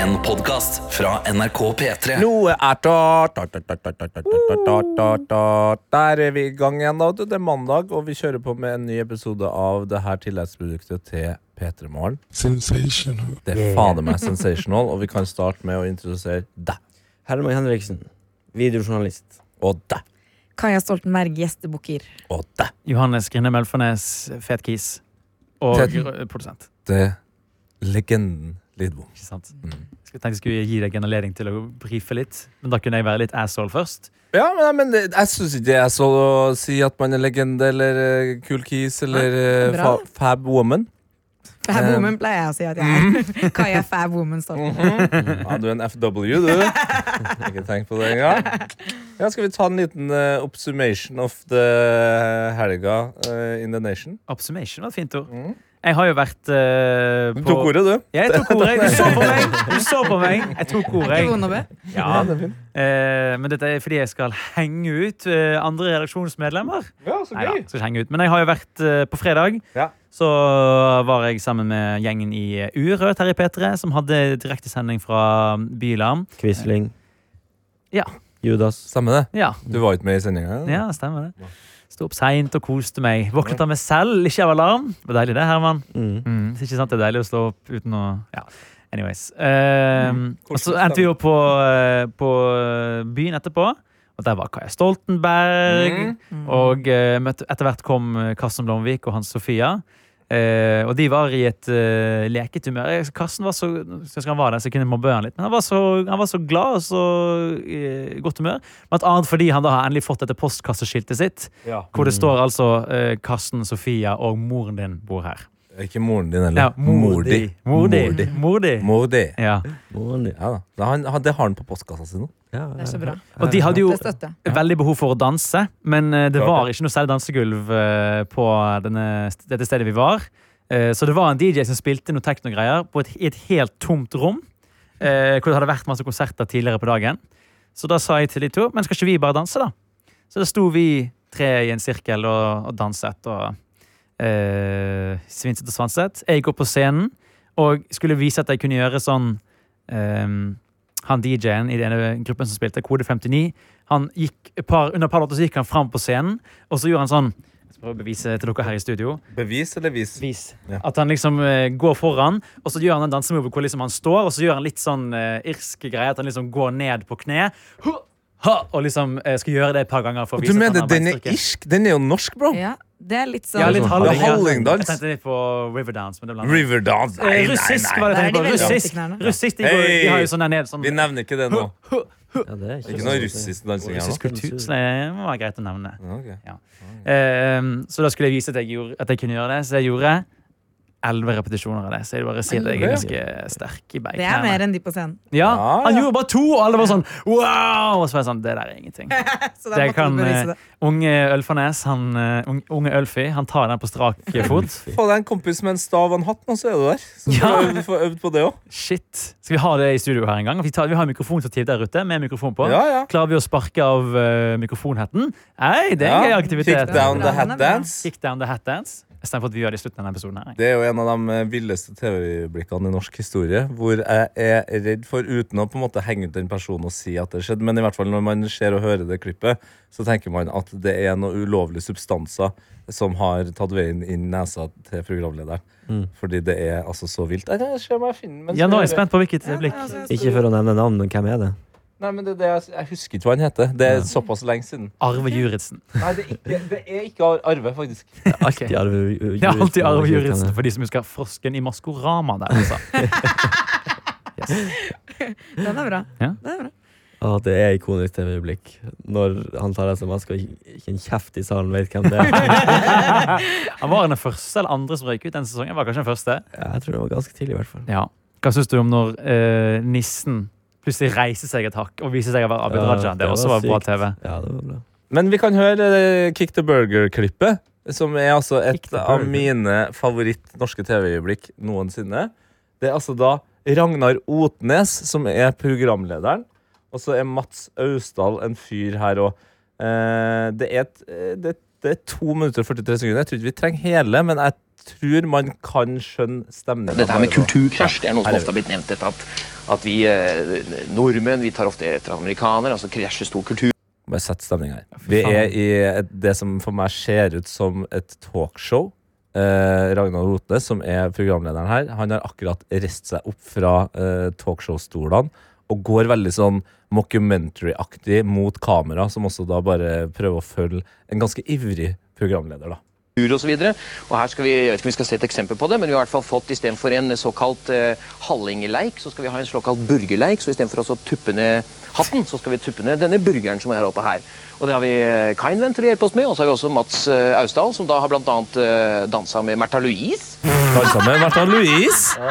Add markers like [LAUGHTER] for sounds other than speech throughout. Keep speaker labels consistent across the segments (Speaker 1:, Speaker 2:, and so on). Speaker 1: En podcast fra NRK P3
Speaker 2: Noe er ta, ta, ta, ta, ta, ta, ta, ta, ta, ta, ta. Der er vi i gang igjen, da. vet du. Det er mandag, og vi kjører på med en ny episode av det her tilleggsproduktet til P3 Morgen.
Speaker 3: Sensational.
Speaker 2: Det er fader meg sensational, og vi kan starte med å introdusere deg
Speaker 4: Herman Henriksen, videojournalist.
Speaker 2: og deg
Speaker 5: Kaja Stoltenberg, gjestebukker.
Speaker 2: og deg.
Speaker 6: Johannes Grinde Melfarnes, fet kis. Og
Speaker 2: Tett.
Speaker 6: gr- produsent.
Speaker 2: Det er legenden Lidbom.
Speaker 6: Ikke sant?
Speaker 2: Mm.
Speaker 6: Jeg skulle tenke jeg skulle gi deg en anledning til å brife litt, men da kunne jeg være litt asshole først.
Speaker 2: Ja, men, nei, men det, jeg syns ikke det er så å si at man er legende eller eh, cool keys eller eh, fa
Speaker 5: Bra.
Speaker 2: fab woman.
Speaker 5: Fab
Speaker 2: Eh.
Speaker 5: woman pleier jeg å si at jeg
Speaker 7: mm.
Speaker 5: [LAUGHS] er. Kaja Fab woman Stoltenberg.
Speaker 2: Ja, du er en FW, du. [LAUGHS] Ikke tenk på det engang. Ja, skal vi ta en liten eh, obsummation of the helga eh, in the nation?
Speaker 6: Obsummation var et fint ord. Jeg har jo vært eh,
Speaker 2: Mm. Du
Speaker 6: på
Speaker 2: tok ordet, du.
Speaker 6: Ja, jeg tok ordet. Du så på
Speaker 2: [LAUGHS]
Speaker 6: meg! Du så på meg. Jeg tok ordet.
Speaker 5: Ikke
Speaker 6: jeg.
Speaker 5: vond å be.
Speaker 6: Ja.
Speaker 2: det er fint.
Speaker 6: Eh, men dette er fordi jeg skal henge ut eh, andre redaksjonsmedlemmer.
Speaker 2: Ja, så
Speaker 6: Neida, skal ikke henge ut. Men jeg har jo vært eh, på fredag.
Speaker 2: Ja.
Speaker 6: Så var jeg sammen med gjengen i Urørt her i P3, som hadde direktesending fra Bylarm.
Speaker 4: Quisling.
Speaker 6: Ja.
Speaker 4: Judas.
Speaker 2: Stemmer det.
Speaker 6: Ja,
Speaker 2: Du var ikke med i sendinga?
Speaker 6: ja stemmer det. Sto opp seint og koste meg. Våknet av meg selv, ikke av alarm. Det var deilig, det, Herman.
Speaker 4: Mm.
Speaker 6: Mm. Ikke sant? Det er deilig å stå opp uten å Ja, anyways. Eh, og så endte vi jo på, eh, på byen etterpå. Og der var Kaja Stoltenberg. Og eh, møtte, etter hvert kom eh, Karsten Blomvik og Hans Sofia. Eh, og de var i et eh, leket humør. Eh, Karsten var så jeg han var der, så jeg kunne mobbe han litt. Men han var så, han var så glad og så eh, godt humør. Blant annet fordi han da har endelig fått dette postkasseskiltet sitt.
Speaker 2: Ja.
Speaker 6: Hvor det står altså eh, 'Karsten, Sofia og moren din bor her'.
Speaker 2: Ikke moren din, eller?
Speaker 6: Ja, mor di. Mor di.
Speaker 2: Mor di.
Speaker 6: Mor di.
Speaker 2: Mor di.
Speaker 6: Ja.
Speaker 4: Moren din.
Speaker 2: Ja da. Det har, han- det har han på postkassa si nå.
Speaker 5: Det er så bra.
Speaker 6: Og de hadde jo
Speaker 5: Det støtter.
Speaker 6: veldig behov for å danse, men eh, det
Speaker 2: Klart
Speaker 6: var ikke noe særlig dansegulv eh, på denne, dette stedet vi var. Eh, Så det var en DJ som spilte noe teknogreier på et, i et helt tomt rom. eh, Hvor det hadde vært masse konserter tidligere på dagen. Så da sa jeg til de to men skal ikke vi bare danse, da? Så da sto vi tre i en sirkel og, og danset og eh, svinset og svanset. Jeg gikk opp på scenen og skulle vise at jeg kunne gjøre sånn ehm, Han DJ-en i den ene gruppen som spilte Kode 59, han gikk et par, under et par låter så gikk han fram på scenen, og så gjorde han sånn Jeg skal prøve å bevise til dere her i studio.
Speaker 2: Bevis eller vis? Ja.
Speaker 6: At han liksom eh, går foran, og så gjør han en dansemove hvor liksom han står, og så gjør han litt sånn eh, irsk greie, at han liksom går ned på kne. Huh! Ha! Og liksom eh, skal gjøre det et par ganger. for å
Speaker 2: Du
Speaker 6: vise at han
Speaker 2: mener
Speaker 6: har
Speaker 2: den er
Speaker 6: beistyrke.
Speaker 2: irsk? Den er jo norsk, bro.
Speaker 5: Ja, det er litt sånn
Speaker 6: Ja, litt halvdans.
Speaker 2: Det er hallingdans.
Speaker 6: Jeg tenkte litt på Riverdance. Men det blander jeg.
Speaker 2: Riverdance.
Speaker 6: Eh, russisk var det
Speaker 5: Der
Speaker 6: jeg
Speaker 5: er de
Speaker 6: tenkte på.
Speaker 5: veldig
Speaker 6: Russisk.
Speaker 5: opptiknerne.
Speaker 6: russisk de, går, de har jo sånn der nede sånn
Speaker 2: Vi nevner ikke det nå.
Speaker 4: Ja, det er ikke,
Speaker 2: Ikke noe russisk dansing her nå.
Speaker 4: Russisk
Speaker 6: kultur, så det må være greit å nevne.
Speaker 2: Ja, ok.
Speaker 6: Ehm, så da skulle jeg vise at jeg, gjorde, at jeg kunne gjøre det, så jeg gjorde elleve repetisjoner av det. Så jeg vil bare si at jeg er ganske sterk i
Speaker 5: Det er mer
Speaker 6: beina.
Speaker 5: enn de på scenen.
Speaker 6: Ja,
Speaker 2: Ja,
Speaker 6: han
Speaker 2: ja.
Speaker 6: gjorde bare to, og alle var sånn wow! Og så var jeg sånn, det der er ingenting.
Speaker 5: Så [LAUGHS]
Speaker 6: Det
Speaker 5: da måtte
Speaker 6: kan,
Speaker 5: du bevise det.
Speaker 6: eh, unge Ølfarnes, han, eh, unge- unge Ølfi, han tar den
Speaker 2: [LAUGHS]
Speaker 6: på strak eh, fot.
Speaker 2: Få deg en kompis med en stav og en hatt, nå, så er du der. Så
Speaker 6: Ja.
Speaker 2: får du får øvd på det òg.
Speaker 6: Shit. Skal vi ha det i studio her en gang? Vi, tar, vi har mikrofonstativ der ute med mikrofon på.
Speaker 2: Ja, ja.
Speaker 6: Klarer vi å sparke av eh, mikrofonhetten? Nei, det er en gøy aktivitet.
Speaker 2: Kick down the
Speaker 5: Ja, den
Speaker 2: hat
Speaker 5: er bra.
Speaker 2: dance.
Speaker 6: Kick down the hat dance. Istedenfor at vi gjør det i slutten av denne episoden. her.
Speaker 2: Det er jo en av de eh, villeste TV-øyeblikkene i norsk historie. Hvor jeg er redd for, uten å på en måte henge ut den personen og si at det skjedde, men i hvert fall når man ser og hører det klippet, så tenker man at det er noen ulovlige substanser som har tatt veien inn i nesa til programlederen. Fordi det er altså så vilt. Nei, Jeg ser om jeg finner den, mens
Speaker 6: Mm. Ja, nå er jeg
Speaker 2: hører.
Speaker 6: spent på hvilket blikk.
Speaker 4: Ikke for å nevne navn, men hvem er det?
Speaker 2: Nei, men det, er det, jeg- jeg husker ikke hva han heter. Det er såpass lenge siden.
Speaker 6: Arve Juritzen.
Speaker 2: Nei, det er ikke, det er ikke Arve, faktisk.
Speaker 4: De
Speaker 6: Det
Speaker 4: arve,
Speaker 6: er alltid Arve Juritzen
Speaker 4: juristen.
Speaker 6: for de som husker frosken i Maskorama der, [LAUGHS] altså.
Speaker 5: Den er bra.
Speaker 6: Ja.
Speaker 5: Den er bra.
Speaker 4: Å, det er ikonisk TV-øyeblikk. Når han tar SMS og ikke ikke en kjeft i salen vet hvem det
Speaker 6: [LAUGHS]
Speaker 4: er.
Speaker 6: Han var den første eller andre som røyk ut den sesongen. Var kanskje den første.
Speaker 4: Jeg tror det var ganske tidlig, i hvert fall.
Speaker 6: Ja. Hva syns du om når eh, nissen plutselig reiser seg et hakk og viser seg å være Abid
Speaker 4: Ja,
Speaker 6: Raja? Det
Speaker 4: det
Speaker 6: også
Speaker 4: var
Speaker 6: var bra
Speaker 4: sykt.
Speaker 6: TV.
Speaker 4: Ja, det var bra.
Speaker 2: Men vi kan høre eh, Kick the Burger-klippet, som er altså
Speaker 6: Kick
Speaker 2: et
Speaker 6: the
Speaker 2: av
Speaker 6: Burger.
Speaker 2: mine favoritt-norske TV-øyeblikk noensinne. Det er altså da Ragnar Otnes som er programlederen, og så er Mats Austdal en fyr her òg. Det er et, eh, det er et Det er 2 minutter og 43 sekunder. Jeg tror ikke vi trenger hele, men jeg tror man kan skjønne stemningen.
Speaker 3: Dette her
Speaker 2: bare
Speaker 3: med
Speaker 2: nå.
Speaker 3: kulturkrasj, det er noe
Speaker 2: Her
Speaker 3: som
Speaker 2: er
Speaker 3: ofte har blitt nevnt. Dette, at, at vi eh, nordmenn vi tar ofte etter amerikanere, altså krasjer stor kultur.
Speaker 2: Bare sett stemninga her.
Speaker 6: fy
Speaker 2: Vi
Speaker 6: faen.
Speaker 2: er i et, det som for meg ser ut som et talkshow. Eh, Ragnar Rotnes, som er programlederen her, han har akkurat reist seg opp fra eh, talkshow-stolene og går veldig sånn mockumentary-aktig mot kamera, som også da bare prøver å følge en ganske ivrig programleder, da.
Speaker 3: kultur og så videre. og her skal vi, Jeg vet ikke om vi skal se et eksempel på det, men vi har i hvert fall fått istedenfor en såkalt eh, hallingeleik, så skal vi ha en såkalt burgerleik. Så istedenfor å tuppe ned hatten, så skal vi tuppe ned denne burgeren som er her oppe her. Og det har vi eh, Kindven til å hjelpe oss med, og så har vi også Mats eh, Austdal, som da har blant annet eh, dansa med Märtha Louise.
Speaker 2: Alle sammen. Märtha Louise!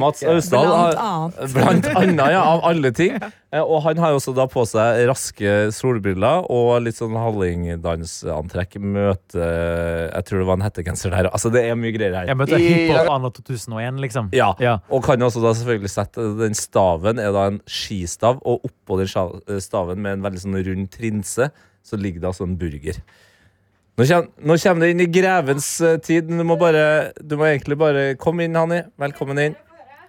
Speaker 2: Mats Austdal
Speaker 5: Blant
Speaker 2: har-
Speaker 5: annet.
Speaker 2: Blant annet, ja, av alle ting. Eh, Og han har jo også da på seg raske solbriller og litt sånn hallingdansantrekk. Møte eh, Jeg tror det var en hettegenser der. Altså, det er mye greier her.
Speaker 6: Jeg møtte hiphop anno 2001, liksom.
Speaker 2: Ja.
Speaker 6: Ja.
Speaker 2: Og kan jo også da selvfølgelig sette Den staven er da en skistav, og oppå den sja- eh, staven med en veldig sånn rund trinse, så ligger det altså en burger. Nå kommer, nå kommer det inn i grevens eh, tid. men Du må, bare, du må egentlig bare Kom inn, Hanni. Velkommen inn.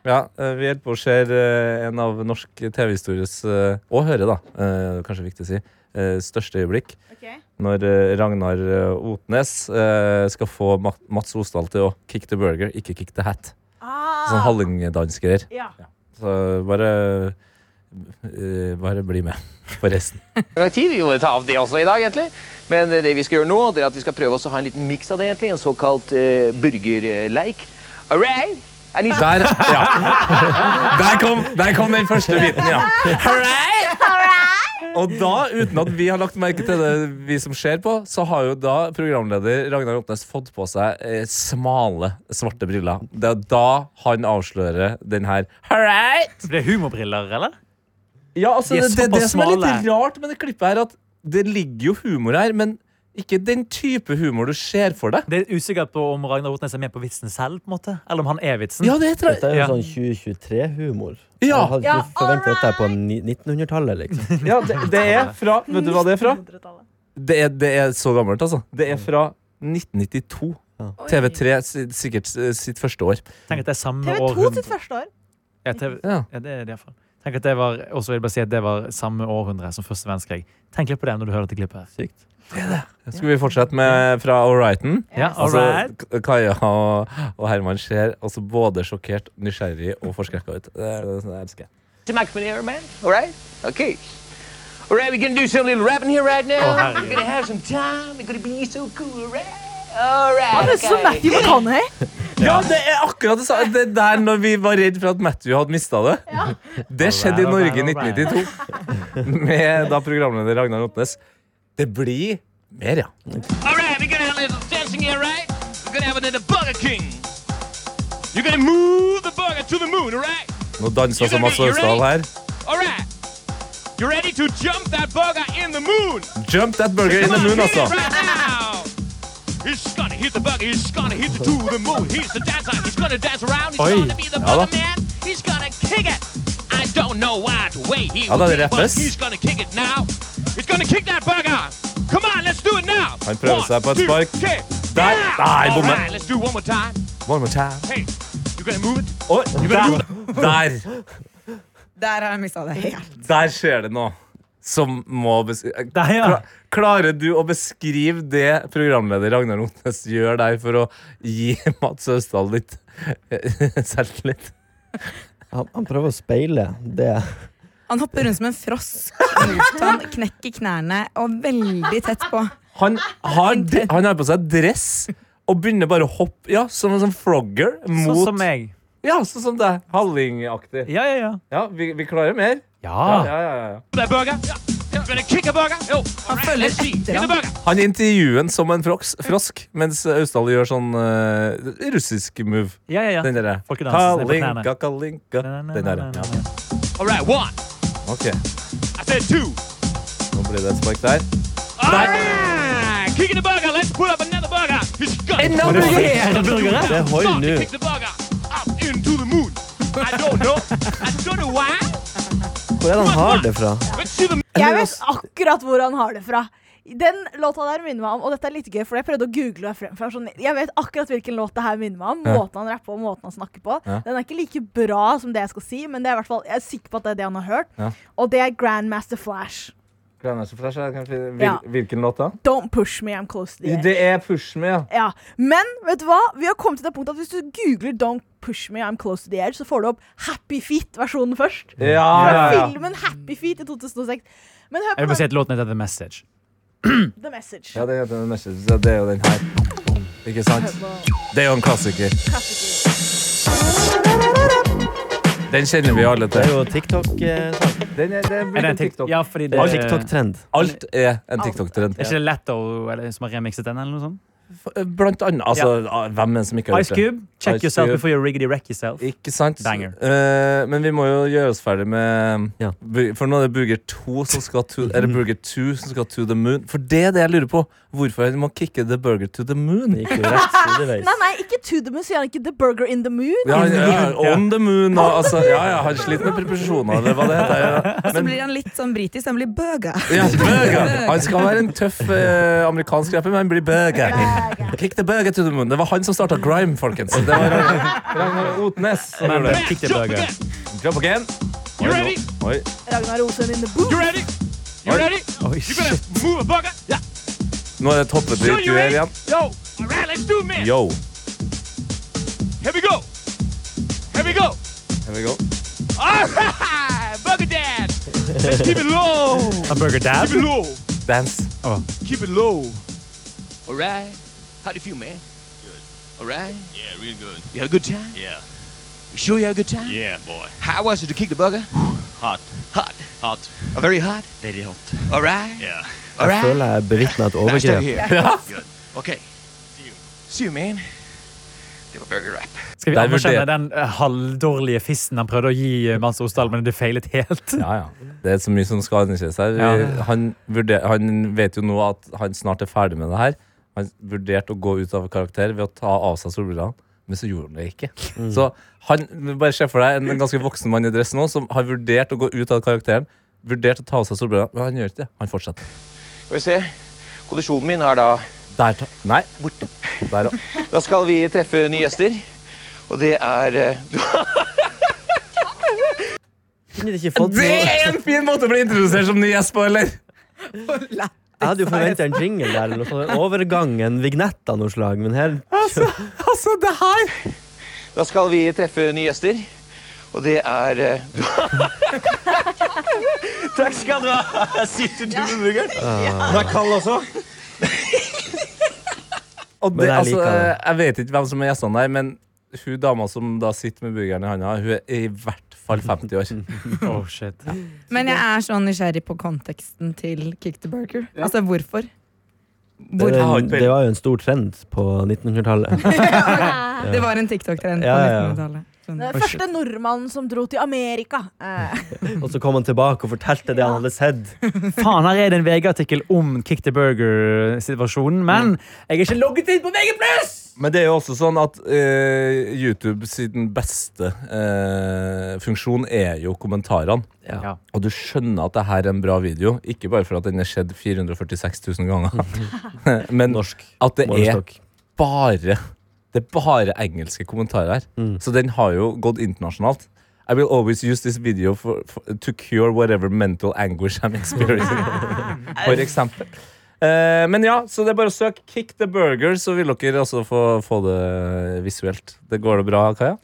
Speaker 2: Ja, eh, Vi holder på å se eh, en av norsk TV-histories eh, Og høre, da. eh, Kanskje viktig å si. eh, Største øyeblikk. Når eh, Ragnar eh, Otnes eh, skal få Ma- Mats Osdal til å kick the burger, ikke kick the hat. Sånn hallingdansgreier. Så bare eh, Bare bli med på resten.
Speaker 3: Vi har tid, vi må ta av det også i dag, egentlig. Men eh, det vi skal gjøre nå, det er at vi skal prøve oss å ha en liten miks av det, egentlig. En såkalt eh, burgerleik. All right? I need
Speaker 2: [LAUGHS] Der, ja. der, kom, der kom den første biten, ja. Og da, uten at vi har lagt merke til det, vi som ser på, så har jo da programleder Ragnar Opnes fått på seg eh, smale, svarte briller. Det er da han avslører den her. All right!
Speaker 6: Det er humorbriller, eller?
Speaker 2: Ja, altså,
Speaker 6: De er
Speaker 2: det, det, det
Speaker 6: såpass
Speaker 2: som er litt
Speaker 6: smale.
Speaker 2: rart med det klippet her, at det ligger jo humor her, men ikke den type humor du ser for deg.
Speaker 6: Det er usikkert på om Ragnar Rotnes er med på vitsen selv, på en måte. eller om han er vitsen.
Speaker 2: Ja, det er tra-
Speaker 4: Dette er jo
Speaker 6: Ja.
Speaker 4: sånn 2023-humor.
Speaker 2: Ja.
Speaker 4: Jeg hadde ikke forventet dette på ni- 1900-tallet, liksom.
Speaker 2: ja, det, det er fra [LAUGHS] Vet du hva det er fra? Det er, det er så gammelt, altså. Det er fra 1992. TV3 si- sikkert si- sitt første år.
Speaker 6: Tenk at det er samme
Speaker 7: TV2
Speaker 6: århundre.
Speaker 7: sitt første år.
Speaker 6: Ja, TV...
Speaker 2: Ja.
Speaker 6: ja, det er det iallfall. Tenk at det var, og så vil jeg bare si at det var samme århundre som første verdenskrig. Tenk litt på det når du hører dette klippet. her.
Speaker 4: Sykt.
Speaker 2: Skal vi fortsette med eh, fra All Righten?
Speaker 6: Ja, all right.
Speaker 2: Altså, K- Kaja og, og Herman ser altså både sjokkert, nysgjerrig og forskrekka ut. Det, er- det elsker jeg.
Speaker 3: Mr. McNair, man. All right? Okay. All right, we're gonna do some little rapping here right now.
Speaker 6: hell
Speaker 3: we're
Speaker 6: yeah.
Speaker 3: gonna have some time. It's gonna be so cool, all right? All right.
Speaker 7: Det er som
Speaker 3: okay.
Speaker 7: Matthew McConaughey.
Speaker 2: Ja, det er akkurat det samme. Det der når vi var redd for at Matthew hadde mista det. Det skjedde i
Speaker 6: Alright,
Speaker 2: Norge i
Speaker 6: alright,
Speaker 2: 1992 med da programleder Ragnar Otnes. Det blir mer, ja.
Speaker 3: All right, we're gonna have a little dancing here, right? We're gonna have another Burger King. You're gonna move the burger to the moon, all right?
Speaker 2: Nå danser altså Mads Austdal her.
Speaker 3: All right. You're ready to jump that burger in the moon.
Speaker 2: Jump that burger in the moon, altså.
Speaker 3: He's gonna hit the buggy, he's gonna hit the two the moon. He's the dancer, he's gonna dance around, he's
Speaker 6: Oi.
Speaker 3: gonna be the
Speaker 2: Ja da.
Speaker 3: bugger man. He's gonna kick it. I don't know what way he
Speaker 2: Ja da, det
Speaker 3: will do, but
Speaker 2: rappes.
Speaker 3: he's gonna kick it now. He's gonna kick that bugger. Come on, let's do it now.
Speaker 2: Han prøver
Speaker 3: One,
Speaker 2: seg på et
Speaker 3: two,
Speaker 2: spark.
Speaker 3: kick.
Speaker 2: Der.
Speaker 3: Yeah.
Speaker 2: Nei,
Speaker 3: All
Speaker 2: bomme.
Speaker 3: right, let's do one more time.
Speaker 2: One more time.
Speaker 3: Hey, you're gonna move it.
Speaker 2: Oi, der. der!
Speaker 5: Der har jeg mista det helt.
Speaker 2: Der skjer det noe som må bes-
Speaker 6: Der, ja.
Speaker 2: Kla- Klarer du å beskrive det programleder Ragnar Otnes gjør der for å gi Mads Austdal litt eh, selvtillit?
Speaker 4: Han, han prøver å speile det.
Speaker 5: Han hopper rundt som en frosk. Han knekker knærne og veldig tett på.
Speaker 2: Han
Speaker 6: Ah,
Speaker 2: har, d- han har på seg dress og begynner bare å hoppe ja, som en sånn frogger mot
Speaker 6: Sånn som meg.
Speaker 2: Ja, sånn som deg. Hallingaktig.
Speaker 6: Ja, ja, ja.
Speaker 2: Ja, vi, vi klarer mer. Ja,
Speaker 6: Ja.
Speaker 2: ja, ja, ja.
Speaker 3: That burger. You're gonna kick a burger. Yo, all right,
Speaker 5: følger
Speaker 3: let's see.
Speaker 5: etter
Speaker 3: Hit the
Speaker 5: ham.
Speaker 3: burger.
Speaker 2: Han intervjuer den som en froks, frosk, mens Austdal gjør sånn eh, russisk move.
Speaker 6: ja, ja,
Speaker 2: Den
Speaker 6: ja.
Speaker 2: derre
Speaker 6: Folkedansen ned på knærne.
Speaker 2: Kalinka, kalinka Den der, ja.
Speaker 3: All right, one.
Speaker 2: Ok,
Speaker 3: I said two.
Speaker 2: nå blir det et spark der.
Speaker 3: All right, kicking the burger. Let's put up another burger. He's gonna
Speaker 6: Var det flere burgere?
Speaker 4: Det er hoi
Speaker 3: start
Speaker 4: nå.
Speaker 3: to kick the burger up into the moon. I don't know. I don't know why.
Speaker 4: Hvor er det han har det fra?
Speaker 3: But see the
Speaker 7: Jeg vet akkurat hvor han har det fra. Den låta der minner meg om Og dette er litt gøy, for jeg prøvde å google meg frem. for jeg var Sånn, jeg vet akkurat hvilken låt det her minner meg om.
Speaker 2: Ja.
Speaker 7: Måten han rapper på, måten han snakker på.
Speaker 2: Ja.
Speaker 7: Den er ikke like bra som det jeg skal si, men det er i hvert fall, jeg er sikker på at det er det han har hørt.
Speaker 2: Ja.
Speaker 7: Og det er Grandmaster Flash.
Speaker 2: Grandmaster Flash, er kanskje- hvil,
Speaker 7: Ja.
Speaker 2: Hvilken låt da?
Speaker 7: Don't push me, I'm close to the edge.
Speaker 2: Det er Push Me, ja.
Speaker 7: Ja, Men vet du hva? Vi har kommet til det punktet at hvis du googler 'Don't push me, I'm close to the edge', så får du opp Happy Feet-versjonen først.
Speaker 2: Ja, ja,
Speaker 7: Fra
Speaker 2: ja.
Speaker 7: filmen Happy Feet i 2006. Men hør
Speaker 6: Jeg vil
Speaker 7: på
Speaker 6: bare si at låten heter The Message.
Speaker 7: den- The Message.
Speaker 2: ja det heter The Message. så Det er jo den her. Ikke sant? Det er jo en klassiker. Den kjenner vi alle
Speaker 4: Det er
Speaker 2: til.
Speaker 4: jo eh, TikTok-sang.
Speaker 2: Den er, det er,
Speaker 6: Er det en
Speaker 2: en TikTok.
Speaker 6: TikTok? Ja, fordi det
Speaker 4: Og TikTok-trend.
Speaker 2: Alt er en TikTok-trend.
Speaker 6: Er ikke det Letto eller, som har remixet den? eller noe sånt?
Speaker 2: Blant annet. Altså, hvem er det som ikke har
Speaker 6: Ice
Speaker 2: hørt det?
Speaker 6: Cube, check
Speaker 2: Ice
Speaker 6: yourself
Speaker 2: Cube.
Speaker 6: before you riggedy wreck yourself.
Speaker 2: Ikke sant?
Speaker 6: Banger.
Speaker 2: Eh, men vi må jo gjøre oss ferdig med
Speaker 4: Ja.
Speaker 2: Bu- For nå er det Burger 2 som skal to, er det Burger 2 som skal to the moon. For det er det jeg lurer på. Hvorfor er det må kicke the burger to the moon?
Speaker 4: Det gikk jo rett sideveis.
Speaker 7: Nei, nei, ikke To The Moon, sier han ikke The Burger In The Moon?
Speaker 2: Ja, ja, on the moon og altså, Ja, ja, han sliter med preposisjoner, eller hva det heter.
Speaker 5: [LAUGHS]
Speaker 2: Ja.
Speaker 5: Så
Speaker 2: Men,
Speaker 5: blir han litt sånn britisk. Han blir bøga. [LAUGHS]
Speaker 2: ja, burger. Han skal være en tøff eh, amerikansk rapper, men han blir burger. Kick the burger to the moon. Det var han som starta Grime, folkens. Det var eh, Ragnar Otnes som
Speaker 6: Men
Speaker 2: gjorde det.
Speaker 6: kick the burger.
Speaker 2: Jump again. You ready? Oi.
Speaker 7: Ragnar Osen in The Booth.
Speaker 6: Oi, shit.
Speaker 2: Nå er det toppet ditt du er igjen. Yo. Here we go. [LAUGHS]
Speaker 6: A burger dab?
Speaker 2: Dance.
Speaker 3: All right. How do you feel, man? Good. All right? Yeah, real good. You had a good time? Yeah. You sure you had a good time? Yeah, boy. How was it to kick the burger? hot. Hot? Hot. very hot? Very hot. All right? Yeah. All
Speaker 4: Jeg
Speaker 3: right?
Speaker 4: føler jeg bevitner et
Speaker 3: Nice
Speaker 4: overgrep.
Speaker 3: to have you here. Good. Okay. See you. See you, man. Det var burger wrap.
Speaker 6: Skal vi
Speaker 2: Der
Speaker 6: anerkjenne
Speaker 2: vurder-
Speaker 6: den eh, halvdårlige fissen han prøvde å gi eh, Mads Osdal, men det feilet helt?
Speaker 2: Ja, ja. Det er så mye som skal anerkjennes her.
Speaker 6: Ja.
Speaker 2: Han, vurder, han vet jo nå at han snart er ferdig med det her. Han vurderte å gå ut av karakter ved å ta av seg solbrillene, men så gjorde han det ikke. Så han, bare se for deg en ganske voksen mann i dress nå som har vurdert å gå ut av karakteren. Vurdert å ta av seg solbrillene, men han gjør ikke det. Han fortsetter.
Speaker 3: Skal vi se. Kondisjonen min er da
Speaker 2: Der, ta. Nei.
Speaker 3: borte.
Speaker 2: Der, ja.
Speaker 3: Da skal vi treffe nye gjester. Og det er eh,
Speaker 4: Kunne de ikke fått
Speaker 2: Det
Speaker 4: noe?
Speaker 2: er en fin måte å bli introdusert som ny gjest på, eller?
Speaker 4: Jeg hadde jo forventa en jingle der, eller noe sånt. Overgang, en vignett av noe slag, men her
Speaker 2: Altså, det her
Speaker 3: Da skal vi treffe nye gjester. Og det er eh, [LAUGHS] Takk skal du ha. Sitter du med burgeren? Den er kald også.
Speaker 2: Og
Speaker 4: Men
Speaker 2: det,
Speaker 4: jeg
Speaker 2: altså,
Speaker 4: liker det.
Speaker 2: jeg vet ikke hvem som er gjestene der, men hun dama som da sitter med burgeren i handa, hun er i hvert fall 50 år.
Speaker 4: [LAUGHS]
Speaker 6: Oh, shit.
Speaker 5: Men jeg er så nysgjerrig på konteksten til Kick the Burger. Altså hvorfor? Hvor,
Speaker 4: det,
Speaker 2: har ikke peiling.
Speaker 4: det var jo en stor trend på 1900-tallet.
Speaker 2: [LAUGHS]
Speaker 5: det var en TikTok-trend på
Speaker 4: Ja, ja, ja.
Speaker 5: 1900-tallet. Sånn.
Speaker 7: Den første nordmannen som dro til Amerika. Eh,
Speaker 4: Og så kom han tilbake og fortalte det han hadde sett.
Speaker 6: Faen, her er det en VG-artikkel om Kick the Burger-situasjonen, men jeg er ikke logget inn på VG+!
Speaker 2: Men det er jo også sånn at eh, YouTube sin beste eh, funksjon er jo kommentarene.
Speaker 6: Ja.
Speaker 2: Og du skjønner at det her er en bra video, ikke bare for at den er skjedd 446 000
Speaker 4: [LAUGHS]
Speaker 2: ganger, [LAUGHS] men
Speaker 4: Norsk.
Speaker 2: at det er
Speaker 4: målestokk.
Speaker 2: bare Det er bare engelske kommentarer her. Så den har jo gått internasjonalt. I will always use this video for, for, to cure whatever mental anguish I'm experiencing. for eksempel. Eh, men ja, så det er bare å søke 'Kick the Burger', så vil dere også få, få det visuelt. Det Går det bra, Kaja?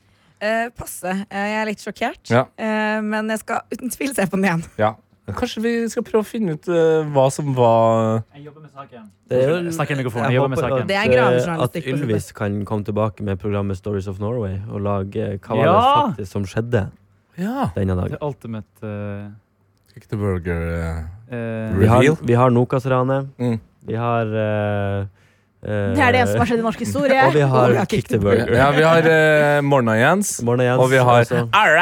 Speaker 5: Eh, passe. Eh, jeg er litt sjokkert.
Speaker 2: Ja.
Speaker 5: Eh, men jeg skal uten tvil se på den igjen.
Speaker 2: Ja. Kanskje vi skal prøve å finne ut eh, hva som var
Speaker 6: Jeg jobber med saken.
Speaker 4: Det er jo-
Speaker 6: Snakk i mikrofonen.
Speaker 4: Jeg
Speaker 6: Jeg jobber med
Speaker 4: håper
Speaker 6: saken.
Speaker 5: Det er
Speaker 4: at, eh, at
Speaker 5: gravejournalistikk på
Speaker 4: Ylvis kan komme tilbake med programmet Stories of Norway og lage hva var
Speaker 6: Ja!
Speaker 4: det faktisk som skjedde
Speaker 2: Ja.
Speaker 4: denne
Speaker 6: The
Speaker 4: dagen.
Speaker 6: ultimate eh,
Speaker 2: Kick the Burger eh.
Speaker 6: eh,
Speaker 4: Vi har,
Speaker 2: Reveal.
Speaker 4: vi har Nokas-ranet.
Speaker 2: Mm.
Speaker 4: Vi har eh, eh,
Speaker 7: det er det eneste som har skjedd i norsk
Speaker 4: Og vi
Speaker 7: historie.
Speaker 4: har Kick the Burger.
Speaker 2: Ja, vi har eh, Morna-Jens.
Speaker 4: Morna, Jens.
Speaker 2: Og vi har [LAUGHS]
Speaker 4: altså.
Speaker 2: All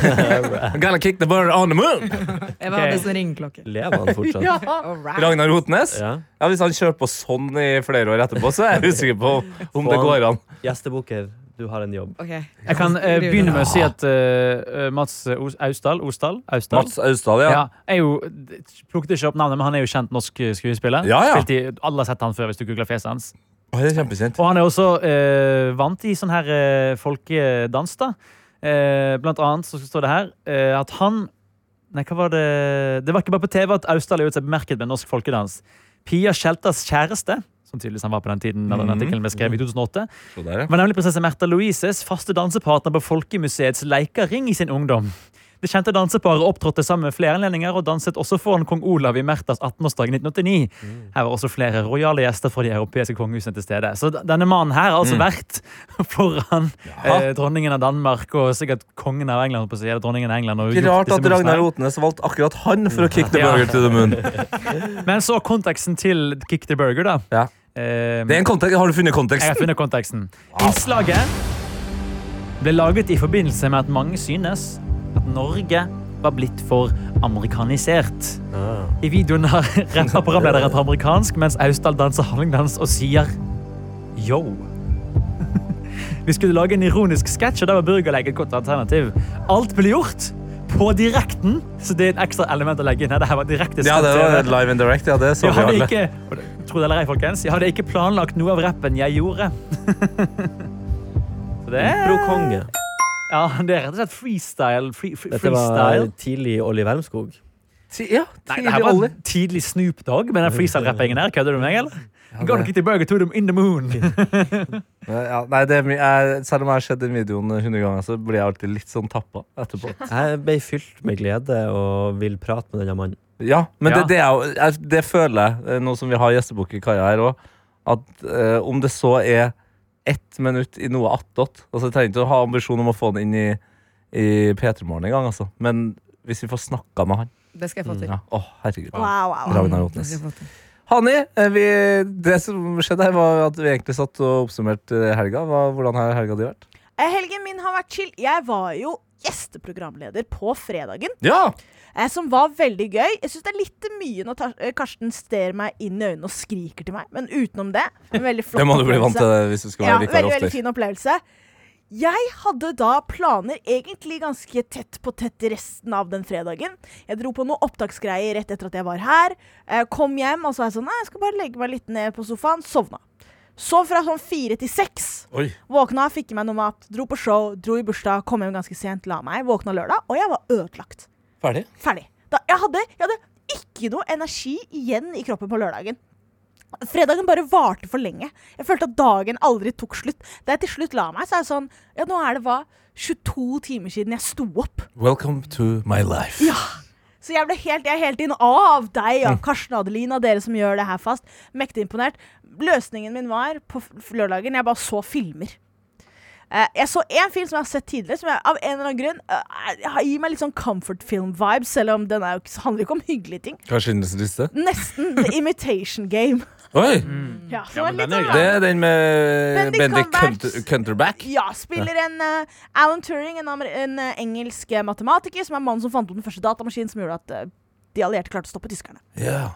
Speaker 2: right! Gonna kick the burger on the moon!
Speaker 5: Jeg var
Speaker 6: Ok.
Speaker 5: hadde sånn ringeklokke.
Speaker 4: Lever han fortsatt? ja.
Speaker 2: Ragnar Rotnes? Ja, Hvis han kjører på sånn i flere år etterpå, så er jeg usikker på om det går an.
Speaker 4: Gjestebukker. Du Du har en jobb.
Speaker 5: Ok.
Speaker 6: Jeg kan eh, begynne med å si at eh, Mats Os- Austdal Osdal? Austdal?
Speaker 2: Mats Austdal, ja.
Speaker 6: Ja, jeg er jo, plukket ikke opp navnet, men han er jo kjent norsk eh, skuespiller.
Speaker 2: Ja, ja.
Speaker 6: Spilt I, alle har sett han før hvis du googler fjeset hans.
Speaker 2: Å, det er kjempekjent.
Speaker 6: Og han er også eh, vant i sånn her eh, folkedans, da. Eh, blant annet så står det her eh, at han Nei, hva var det Det var ikke bare på TV at Austdal gjorde seg bemerket med norsk folkedans. Pia Skjeltas kjæreste, som tydeligvis han var på den tiden
Speaker 2: Mhm.
Speaker 6: da den artikkelen ble skrevet i 2008,
Speaker 2: Så der, ja.
Speaker 6: var nemlig prinsesse Märtha Louises faste dansepartner på Folkemuseets Leikaring i sin ungdom. Det kjente danseparet opptrådte sammen med flere anledninger og danset også foran kong Olav i Märthas 18-årsdag i 1989.
Speaker 2: Mm.
Speaker 6: Her var også flere rojale gjester fra de europeiske kongehusene til stede. Så d- denne mannen her har altså
Speaker 2: Mm.
Speaker 6: vært [LAUGHS] foran eh, dronningen av Danmark og sikkert kongen av England. På å si, eller dronningen av England og
Speaker 2: Ikke
Speaker 6: gjort
Speaker 2: rart
Speaker 6: disse
Speaker 2: at Ragnar
Speaker 6: mønstrene.
Speaker 2: Otnes valgte akkurat han for å kick the burger to the moon.
Speaker 6: Men så konteksten til Kick the Burger, da.
Speaker 2: Ja.
Speaker 6: Eh,
Speaker 2: Det er en kontekst. Har du funnet
Speaker 6: Jeg
Speaker 2: konteksten?
Speaker 6: har funnet konteksten. Innslaget ble laget i forbindelse med at mange synes at Norge var blitt for amerikanisert.
Speaker 2: Ah.
Speaker 6: I videoen har [LAUGHS] renner programlederen på amerikansk, mens Austdal danser hallingdans og sier yo. [LAUGHS] Vi skulle lage en ironisk sketsj, og da var burgerleik et godt alternativ. Alt ble gjort på direkten, så det er et ekstra element å legge inn her. Dette var direkte
Speaker 2: Ja, det var
Speaker 6: sendt TV.
Speaker 2: live and direct. Ja, det så
Speaker 6: Jeg
Speaker 2: vi
Speaker 6: hadde
Speaker 2: alle.
Speaker 6: ikke, tro det eller ei, folkens, jeg hadde ikke planlagt noe av rappen jeg gjorde. [LAUGHS] Så det er,
Speaker 4: Bro Konge.
Speaker 6: ja, det er rett og slett freestyle. Free, free,
Speaker 4: Dette var
Speaker 6: freestyle.
Speaker 4: tidlig Olli Wermskog.
Speaker 2: Ti- Ja, tidlig
Speaker 6: Nei, det her var
Speaker 2: olje.
Speaker 6: tidlig Snoop Dogg med den freestyle-rappingen der. Kødder du med meg, eller? Gone kick the burger to them in the moon.
Speaker 2: Ja, nei, det er, my- jeg, selv om jeg har sett den videoen 100 ganger, så blir jeg alltid litt sånn tappa etterpå.
Speaker 4: Jeg ble fylt med glede og vil prate med denne mannen.
Speaker 2: Ja, men
Speaker 6: Ja.
Speaker 2: Det, det, er jo, jeg- det føler jeg, eh, nå som vi har gjestebok i Kaja her òg, at eh, om det så er ett minutt i noe attåt altså Jeg trenger ikke å ha ambisjon om å få den inn i, i P3 Morgen en gang, altså. Men hvis vi får snakka med han
Speaker 5: Det skal jeg
Speaker 4: Mm.
Speaker 5: få til.
Speaker 2: ja. Å, herregud.
Speaker 7: Wow, wow.
Speaker 2: Ragnar
Speaker 5: Det
Speaker 2: Otnes.
Speaker 5: skal jeg få til.
Speaker 2: Hanni, eh, vi, det som skjedde her, var at vi egentlig satt og oppsummerte eh, helga. Hva, hvordan har helga di vært?
Speaker 7: Eh, Helgen min har vært chill. Jeg var jo gjesteprogramleder på fredagen.
Speaker 2: Ja!
Speaker 7: eh, som var veldig gøy. Jeg syns det er litt mye når Tar- eh, Karsten ser meg inn i øynene og skriker til meg, men utenom det en veldig flott
Speaker 2: Det må du bli vant
Speaker 7: opplevelse.
Speaker 2: til eh, hvis du skal
Speaker 7: Ja,
Speaker 2: være vikar
Speaker 7: veldig, veldig
Speaker 2: ofte.
Speaker 7: fin opplevelse. Jeg hadde da planer egentlig ganske tett på tett resten av den fredagen. Jeg dro på noen opptaksgreier rett etter at jeg var her. Eh, Kom hjem og så var jeg sånn Nei, jeg skal bare legge meg litt ned på sofaen. Sovna. Så fra sånn fire til seks.
Speaker 2: Oi.
Speaker 7: Våkna, fikk i meg noe mat, dro på show, dro i bursdag, kom hjem ganske sent, la meg. Våkna lørdag, og jeg var ødelagt.
Speaker 2: Ferdig?
Speaker 7: Ferdig. Da, jeg, hadde, jeg hadde ikke noe energi igjen i kroppen på lørdagen. Fredagen bare varte for lenge. Jeg følte at dagen aldri tok slutt. Da jeg til slutt la meg, så er det sånn Ja, nå er det hva? 22 timer siden jeg sto opp.
Speaker 2: Welcome to my life.
Speaker 7: Så jeg ble helt, jeg er helt inn av deg, av Karsten og Adeline, av dere som gjør det her fast. Mektig imponert. Løsningen min var på f- f- lørdagen Jeg bare så filmer. Eh, jeg så én film som jeg har sett tidligere, som jeg, av en eller annen grunn eh, er- gir meg litt sånn comfort film-vibes, selv om den er jo ikke, handler ikke om hyggelige ting.
Speaker 2: Hva er Schindlers liste?
Speaker 7: Nesten The Imitation Game.
Speaker 2: Oi!
Speaker 7: Ja, som
Speaker 6: Mm. Ja,
Speaker 7: var
Speaker 6: men
Speaker 7: litt
Speaker 6: den er
Speaker 7: sånn-
Speaker 2: Det er den med
Speaker 7: Bendik
Speaker 2: Bendik
Speaker 7: Cumberbatch.
Speaker 2: Cumber- Cumberbatch.
Speaker 7: Ja, spiller en eh, Alan Turing, en, amer- en eh, engelsk eh, matematiker, som er mannen som fant opp den første datamaskinen som gjorde at eh, de allierte klarte å stoppe tyskerne.
Speaker 2: Ja.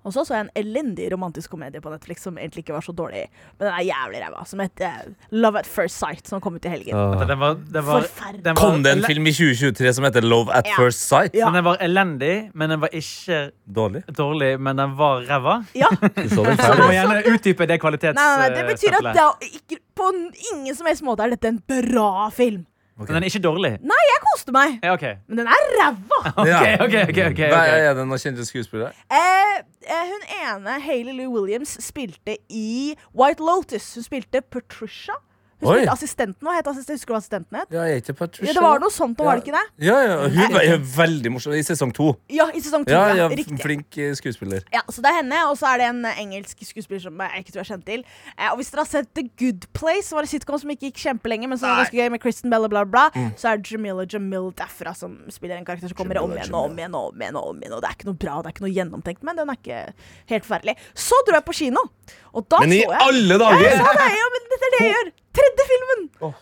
Speaker 7: Og så så jeg en elendig romantisk komedie på Netflix som egentlig ikke var så dårlig, men den er jævlig ræva, som heter eh, Love at First Sight, som kom ut i helgen.
Speaker 4: Ah.
Speaker 6: Den var, den var,
Speaker 7: Forferdelig.
Speaker 6: den var,
Speaker 2: Kom det en film i 2023 som heter Love at
Speaker 7: Ja.
Speaker 2: First Sight?
Speaker 7: Ja.
Speaker 6: Men den var elendig, men den var ikke
Speaker 2: Dårlig.
Speaker 6: dårlig, men den var ræva. [LAUGHS]
Speaker 7: Ja.
Speaker 2: Du så den
Speaker 6: Så du
Speaker 2: ferdig.
Speaker 6: må gjerne utdype det kvalitets...
Speaker 7: Nei, nei, nei, det
Speaker 6: eh,
Speaker 7: betyr at
Speaker 6: stempelet.
Speaker 7: det er ikke, på n- ingen som helst måte er dette en bra film.
Speaker 6: Men den er ikke dårlig.
Speaker 7: Nei, jeg koste meg,
Speaker 6: Ja, OK.
Speaker 7: men den er ræva!
Speaker 2: Ja.
Speaker 6: Ok, ok, ok, ok,
Speaker 2: Hva
Speaker 6: ok.
Speaker 2: er det noen kjente skuespillere?
Speaker 7: Eh, eh, hun ene, Hayley Lou Williams, spilte i White Lotus. Hun spilte Patricia. Hun
Speaker 2: Oi.
Speaker 7: spilte assistenten. Hva het assistenten? Husker du hva assistenten het?
Speaker 2: Ja, jeg heter Patricia.
Speaker 7: Ja, det var noe sånt, nå var det ikke det?
Speaker 2: Ja, ja, Hun var er veldig morsom i sesong to.
Speaker 7: Ja, i sesong to.
Speaker 2: Ja, ja,
Speaker 7: Ja, riktig.
Speaker 2: flink eh, skuespiller.
Speaker 7: Ja, så det er henne, og så er det en eh, engelsk skuespiller som jeg ikke tror jeg kjent til. Eh, og hvis dere har sett The Good Place, som var en sitcom som ikke gikk kjempelenge, men som var ganske gøy med Kristen Bell og bla, bla,
Speaker 2: Mm.
Speaker 7: bla, så er det Jamila Jamil derfra som spiller en karakter som kommer om igjen og om igjen og om igjen. Og om igjen Og det er ikke noe bra, og det er ikke noe gjennomtenkt, men den er ikke helt forferdelig. Så dro jeg på kino, og da
Speaker 2: Men i
Speaker 7: så jeg
Speaker 2: alle
Speaker 7: Ja, jeg
Speaker 2: dager!
Speaker 7: sa det, ja, men dette er det jeg gjør! Tredje filmen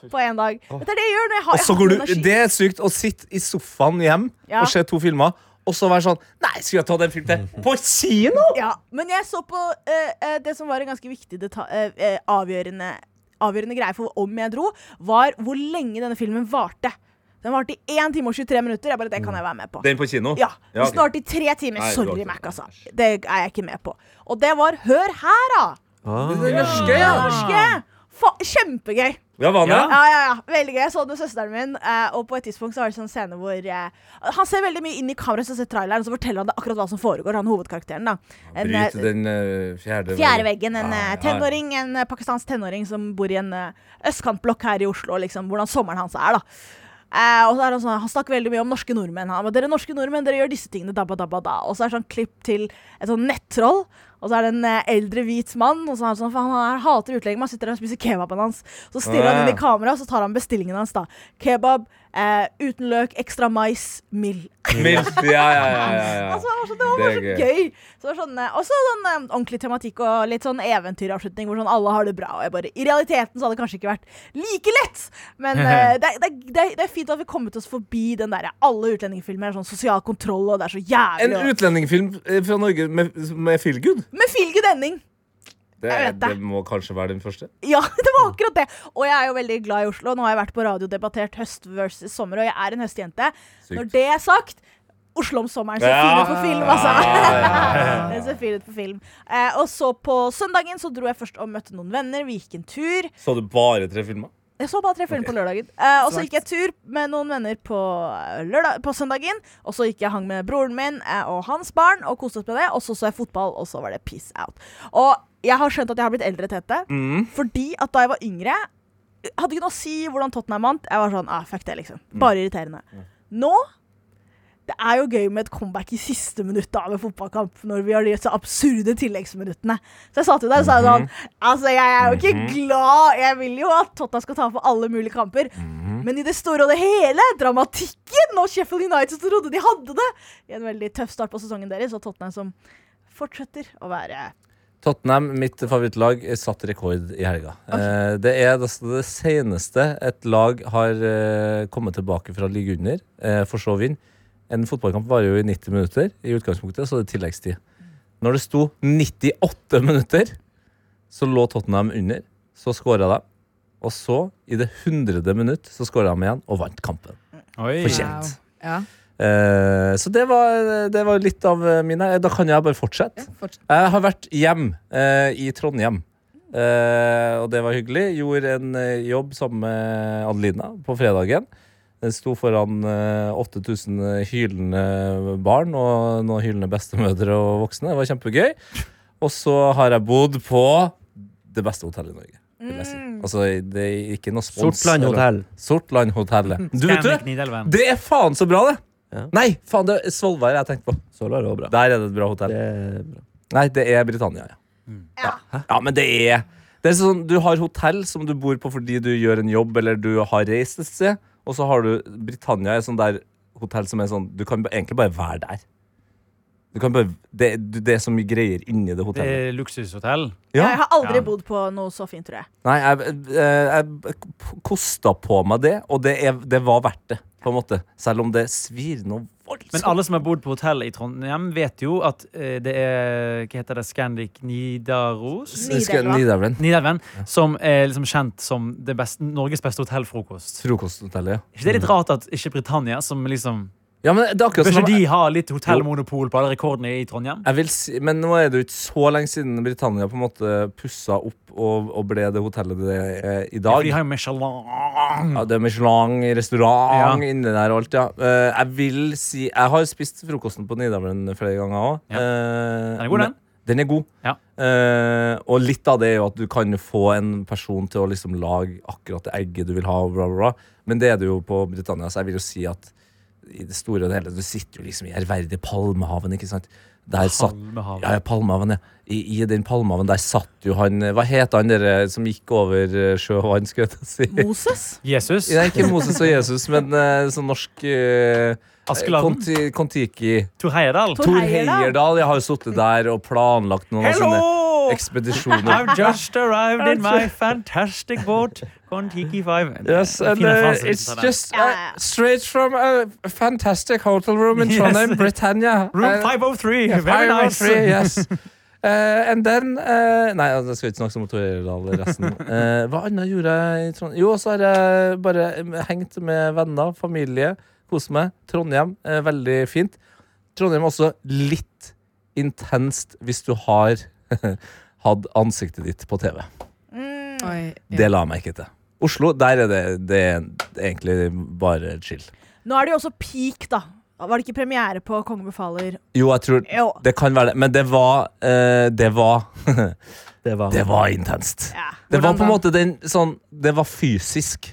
Speaker 7: på én dag. Dette er det jeg gjør når jeg har
Speaker 2: Og så
Speaker 7: jeg har
Speaker 2: går du,
Speaker 7: energi.
Speaker 2: det er sykt å sitte i sofaen hjem
Speaker 7: Ja.
Speaker 2: og se to filmer, og så være sånn Nei, skulle jeg ta den filmen til? På kino?!
Speaker 7: Ja, men jeg så på eh, eh, det som var en ganske viktig deta- eh, eh, avgjørende avgjørende greie for om jeg dro, var hvor lenge denne filmen varte. Den varte i 1 time og 23 minutter. Jeg bare, det kan jeg være med på.
Speaker 2: Den på kino?
Speaker 7: Ja.
Speaker 2: Ja,
Speaker 7: Hvis
Speaker 2: ok.
Speaker 7: den varte i tre timer,
Speaker 2: Nei, det var
Speaker 7: sorry,
Speaker 2: ikke-
Speaker 7: Mac, altså. Det er jeg ikke med på. Og det var Hør her, da!
Speaker 4: Ah,
Speaker 7: Det norske! Fa kjempegøy.
Speaker 2: Ja, hva
Speaker 6: Ja.
Speaker 2: med?
Speaker 7: Ja, ja, ja. Veldig gøy. Jeg så den med søsteren min, eh, og på et tidspunkt så var det sånn scene hvor eh, Han ser veldig mye inn i kameraet, så ser traileren, så forteller han det akkurat hva som foregår, han hovedkarakteren, da. En, eh,
Speaker 2: Bryt den eh, fjerde
Speaker 7: Fjerde veggen. En
Speaker 2: Ja,
Speaker 7: eh,
Speaker 2: Ah, ja, ja. [LAUGHS]
Speaker 7: tenåring, en eh, pakistansk tenåring som bor i en eh, østkantblokk her i Oslo. Liksom, hvordan sommeren hans er, da. Eh, og så er Han sånn, han snakker veldig mye om norske nordmenn. Han, bare, dere norske nordmenn, dere gjør disse tingene dabba dabba da. Og så er det sånn klipp til et sånn nettroll. Og så er det en eh, eldre hvit mann. Og så er han sånn, faen, han er, hater utlendinger. Man sitter der og spiser kebaben hans. Så stirrer han inn i kamera, og så tar han bestillingen hans. da Kebab eh, uten løk, ekstra mais, mild.
Speaker 2: Milf, ja, ja, ja, ja, ja.
Speaker 7: Altså, altså, det var
Speaker 2: Det er
Speaker 7: bare så
Speaker 2: gøy.
Speaker 7: gøy. Så det var sånn, eh, også sånn eh, ordentlig tematikk og litt sånn eventyravslutning hvor sånn alle har det bra. Og jeg bare, I realiteten så hadde det kanskje ikke vært like lett,
Speaker 2: [LAUGHS]
Speaker 7: men eh, det, er- det, er- det, er- det er fint at vi kommet oss forbi den derre alle utlendingfilmer er sånn sosial kontroll, og det er så
Speaker 2: En
Speaker 7: jævlig. og-
Speaker 2: utlendingfilm eh, fra Norge med, med feel good.
Speaker 7: Med feel good ending. [LAUGHS]
Speaker 2: Det,
Speaker 7: Jeg vet det.
Speaker 2: det må kanskje være den første.
Speaker 7: Ja, det var akkurat det. Og jeg er jo veldig glad i Oslo. Nå har jeg vært på radio og debattert høst versus sommer, og jeg er en høstjente.
Speaker 2: Sykt.
Speaker 7: Når det er sagt Oslo om sommeren ser fin ut på film, altså. [LAUGHS] Den ser fin ut på film. Eh, og så på søndagen så dro jeg først og møtte noen venner. Vi gikk en tur.
Speaker 2: Så du bare tre filmer?
Speaker 7: Jeg så bare tre filmer på lørdagen. Eh, og så gikk jeg tur med noen venner på, eh, lørdag, på søndagen. Og så gikk jeg hang med broren min eh, og hans barn og koste oss med det. Og så så jeg fotball, og så var det peace out. Og jeg har skjønt at jeg har blitt eldre, Tete. Fordi at da jeg var yngre, hadde ikke noe å si hvordan Tottenham vant. Jeg var sånn, ah, fuck det, liksom.
Speaker 6: Mm.
Speaker 7: Bare irriterende. Nå det er jo gøy med et comeback i siste minutt av en fotballkamp, når vi har de så absurde tilleggsminuttene. Så jeg sa til deg og
Speaker 6: Mhm.
Speaker 7: sa sånn Altså, jeg er jo ikke glad. Jeg vil jo at Totta skal ta for alle mulige kamper.
Speaker 6: Mhm.
Speaker 7: Men i det store og det hele, dramatikken og Sheffield United som trodde de hadde det I en veldig tøff start på sesongen deres, og Tottenham som fortsetter å være
Speaker 2: Tottenham, mitt favorittlag, satt rekord i helga. Eh, det er altså det seneste et lag har eh, kommet tilbake fra å ligge under, eh, for så å vinne. En fotballkamp varer jo i 90 minutter i utgangspunktet, så det er tilleggstid. Når det sto 98 minutter, så lå Tottenham under. Så skåra de. Og så, i det hundrede minutt, så skåra de igjen og vant kampen.
Speaker 6: Oi.
Speaker 2: Fortjent.
Speaker 5: Ja.
Speaker 2: Eh, så det var, det var litt av eh, mine. Da kan jeg bare fortsette.
Speaker 5: fortsatt.
Speaker 2: Jeg har vært hjem eh, i Trondheim. Eh, og det var hyggelig. Gjorde en eh, jobb sammen med Adelina på fredagen. Jeg sto foran eh, 8000 hylende barn og noen hylende bestemødre og voksne. Det var kjempegøy. Og så har jeg bodd på det beste hotellet i Norge. vil jeg si. Altså, det er ikke noe spons.
Speaker 4: Sortland hotell.
Speaker 2: Sortlandhotellet. Du vet
Speaker 6: Scandic
Speaker 2: du,
Speaker 6: Nidelven.
Speaker 2: det er faen så bra, det!
Speaker 4: Ja.
Speaker 2: Nei, faen, det er Svolvær jeg tenkte på.
Speaker 4: Så var det også bra.
Speaker 2: Der er det et bra hotell.
Speaker 4: Det er bra.
Speaker 2: Nei, det er Britannia, ja.
Speaker 6: Mm.
Speaker 7: Ja.
Speaker 2: Hæ? ja men det er, det er sånn, Du har hotell som du bor på fordi du gjør en jobb eller du har reist et sted, og så har du Britannia er sånn der hotell som er sånn Du kan ba- egentlig bare være der. Du kan bare, det, du- det er så mye greier inni det
Speaker 6: Det
Speaker 2: hotellet.
Speaker 6: er luksushotell.
Speaker 7: Jeg har aldri
Speaker 6: Ja.
Speaker 7: bodd på noe så fint, tror jeg.
Speaker 2: Nei, jeg, eh, jeg, jeg kosta på meg det, og det, er, det var verdt det, på en måte. Selv om det svir noe
Speaker 6: Men
Speaker 2: voldsomt.
Speaker 6: alle som har bodd på hotell i Trondheim, vet jo at eh, det er Hva heter det? Scandic Nidaros?
Speaker 7: Nidelva.
Speaker 2: Nidelven.
Speaker 6: Nidelven. Som er liksom kjent som det beste, Norges beste hotellfrokost.
Speaker 2: Frokosthotellet, ja.
Speaker 6: Er ikke det litt rart at ikke Britannia, som liksom
Speaker 2: ja men det er akkurat
Speaker 6: Bør
Speaker 2: som
Speaker 6: ikke de ha litt hotellmonopol på alle rekordene i Trondheim?
Speaker 2: Jeg vil si, men nå er det jo ikke så lenge siden Britannia på en måte pussa opp og, og ble det hotellet det er i
Speaker 6: Ja,
Speaker 2: dag.
Speaker 6: for de har jo Michelin.
Speaker 2: Ja, det er Michelin, restaurant
Speaker 6: Ja.
Speaker 2: inni der og alt, ja. Eh, jeg vil si Jeg har spist frokosten på Nidavelden flere ganger òg.
Speaker 6: Ja. Den er god, den.
Speaker 2: Den er god.
Speaker 6: Ja.
Speaker 2: Eh, og litt av det er jo at du kan jo få en person til å liksom lage akkurat det egget du vil ha. og Bla, bla, bla. Men det er det jo på Britannia, så jeg vil jo si at i det store og det hele Du sitter jo liksom i ærverdige Palmehaven, ikke sant? Der satt
Speaker 6: Palmehaven.
Speaker 2: Ja, ja, Palmehaven, ja. I, I den Palmehaven der satt jo han eh, Hva het han der som gikk over eh, sjø og vann, skulle jeg til å si?
Speaker 7: Moses?
Speaker 6: Jesus.
Speaker 2: Nei, ikke Moses og Jesus, men eh, sånn norsk eh,
Speaker 6: Askeladden?
Speaker 2: Konti- Kon-Tiki.
Speaker 6: Tor Heyerdahl.
Speaker 7: Tor
Speaker 2: Tor
Speaker 7: Heyerdahl.
Speaker 2: Heyerdahl. Jeg har jo sittet der og planlagt noen av sine
Speaker 6: Hello!
Speaker 2: ekspedisjoner.
Speaker 6: I've just arrived in my fantastic boat, Kon-Tiki 5.
Speaker 2: Yes, and uh, it's just
Speaker 7: Ja, ja,
Speaker 2: uh,
Speaker 7: ja.
Speaker 2: straight from a fantastic hotel room in
Speaker 6: Yes.
Speaker 4: Eh,
Speaker 2: Trondheim, Britannia.
Speaker 6: [LAUGHS] Room
Speaker 2: Uh,
Speaker 6: 503. Very nice.
Speaker 2: 503, yes. Eh, and then eh, Nei, altså, jeg skal ikke snakke om Tore Heyerdahl resten. Eh, hva annet gjorde jeg i Trondheim? Jo, så har jeg bare eh, hengt med venner, familie, kost meg. Trondheim, eh, veldig fint. Trondheim er også litt intenst hvis du har [LAUGHS] hatt ansiktet ditt på TV.
Speaker 7: Mm.
Speaker 5: Oi, ja.
Speaker 2: Det la jeg meg ikke til. Oslo, der er det, det er egentlig bare chill.
Speaker 7: Nå er det jo også peak, da. Var det ikke premiere på Kongen befaler?
Speaker 2: Jo, jeg tror
Speaker 7: Jo.
Speaker 2: Det kan være det. Men det var eh, Det var
Speaker 4: Det var,
Speaker 2: Det var intenst.
Speaker 7: Ja.
Speaker 2: Det var
Speaker 5: Hvordan
Speaker 2: på en
Speaker 5: da?
Speaker 2: måte den sånn Det var fysisk.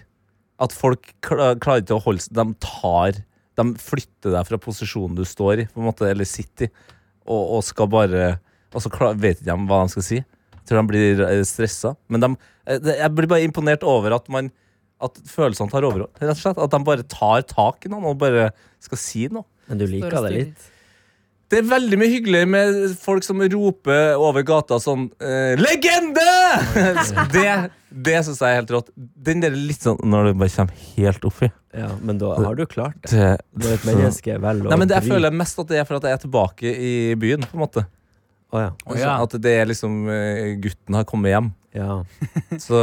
Speaker 2: At folk kla- klarer ikke å holde seg De tar De flytter deg fra posisjonen du står i, på en måte, eller sitter i, og, og skal bare Og så kla- vet ikke de hva de skal si. Jeg tror de blir eh, stressa. Men de, eh, det- jeg blir bare imponert over at man At følelsene tar overhånd, rett og slett. At de bare tar tak i noen og bare skal si noe.
Speaker 4: men du
Speaker 5: Står
Speaker 4: liker
Speaker 5: og
Speaker 4: det
Speaker 5: stirrer.
Speaker 4: litt.
Speaker 2: Det er veldig mye hyggeligere med folk som roper over gata sånn eh, 'Legende!' det det syns jeg er helt rått. Den der litt sånn når du bare kommer helt oppi.
Speaker 4: Ja, men da har du klart det.
Speaker 2: Det,
Speaker 4: Du [LAUGHS] er et menneske vel og
Speaker 2: Nei, men det, Jeg
Speaker 4: bry.
Speaker 2: føler mest at det er for at jeg er tilbake i byen, på en måte.
Speaker 4: Å, ja.
Speaker 6: Å, ja.
Speaker 2: At det er liksom eh, Gutten har kommet hjem.
Speaker 4: Ja.
Speaker 2: Så,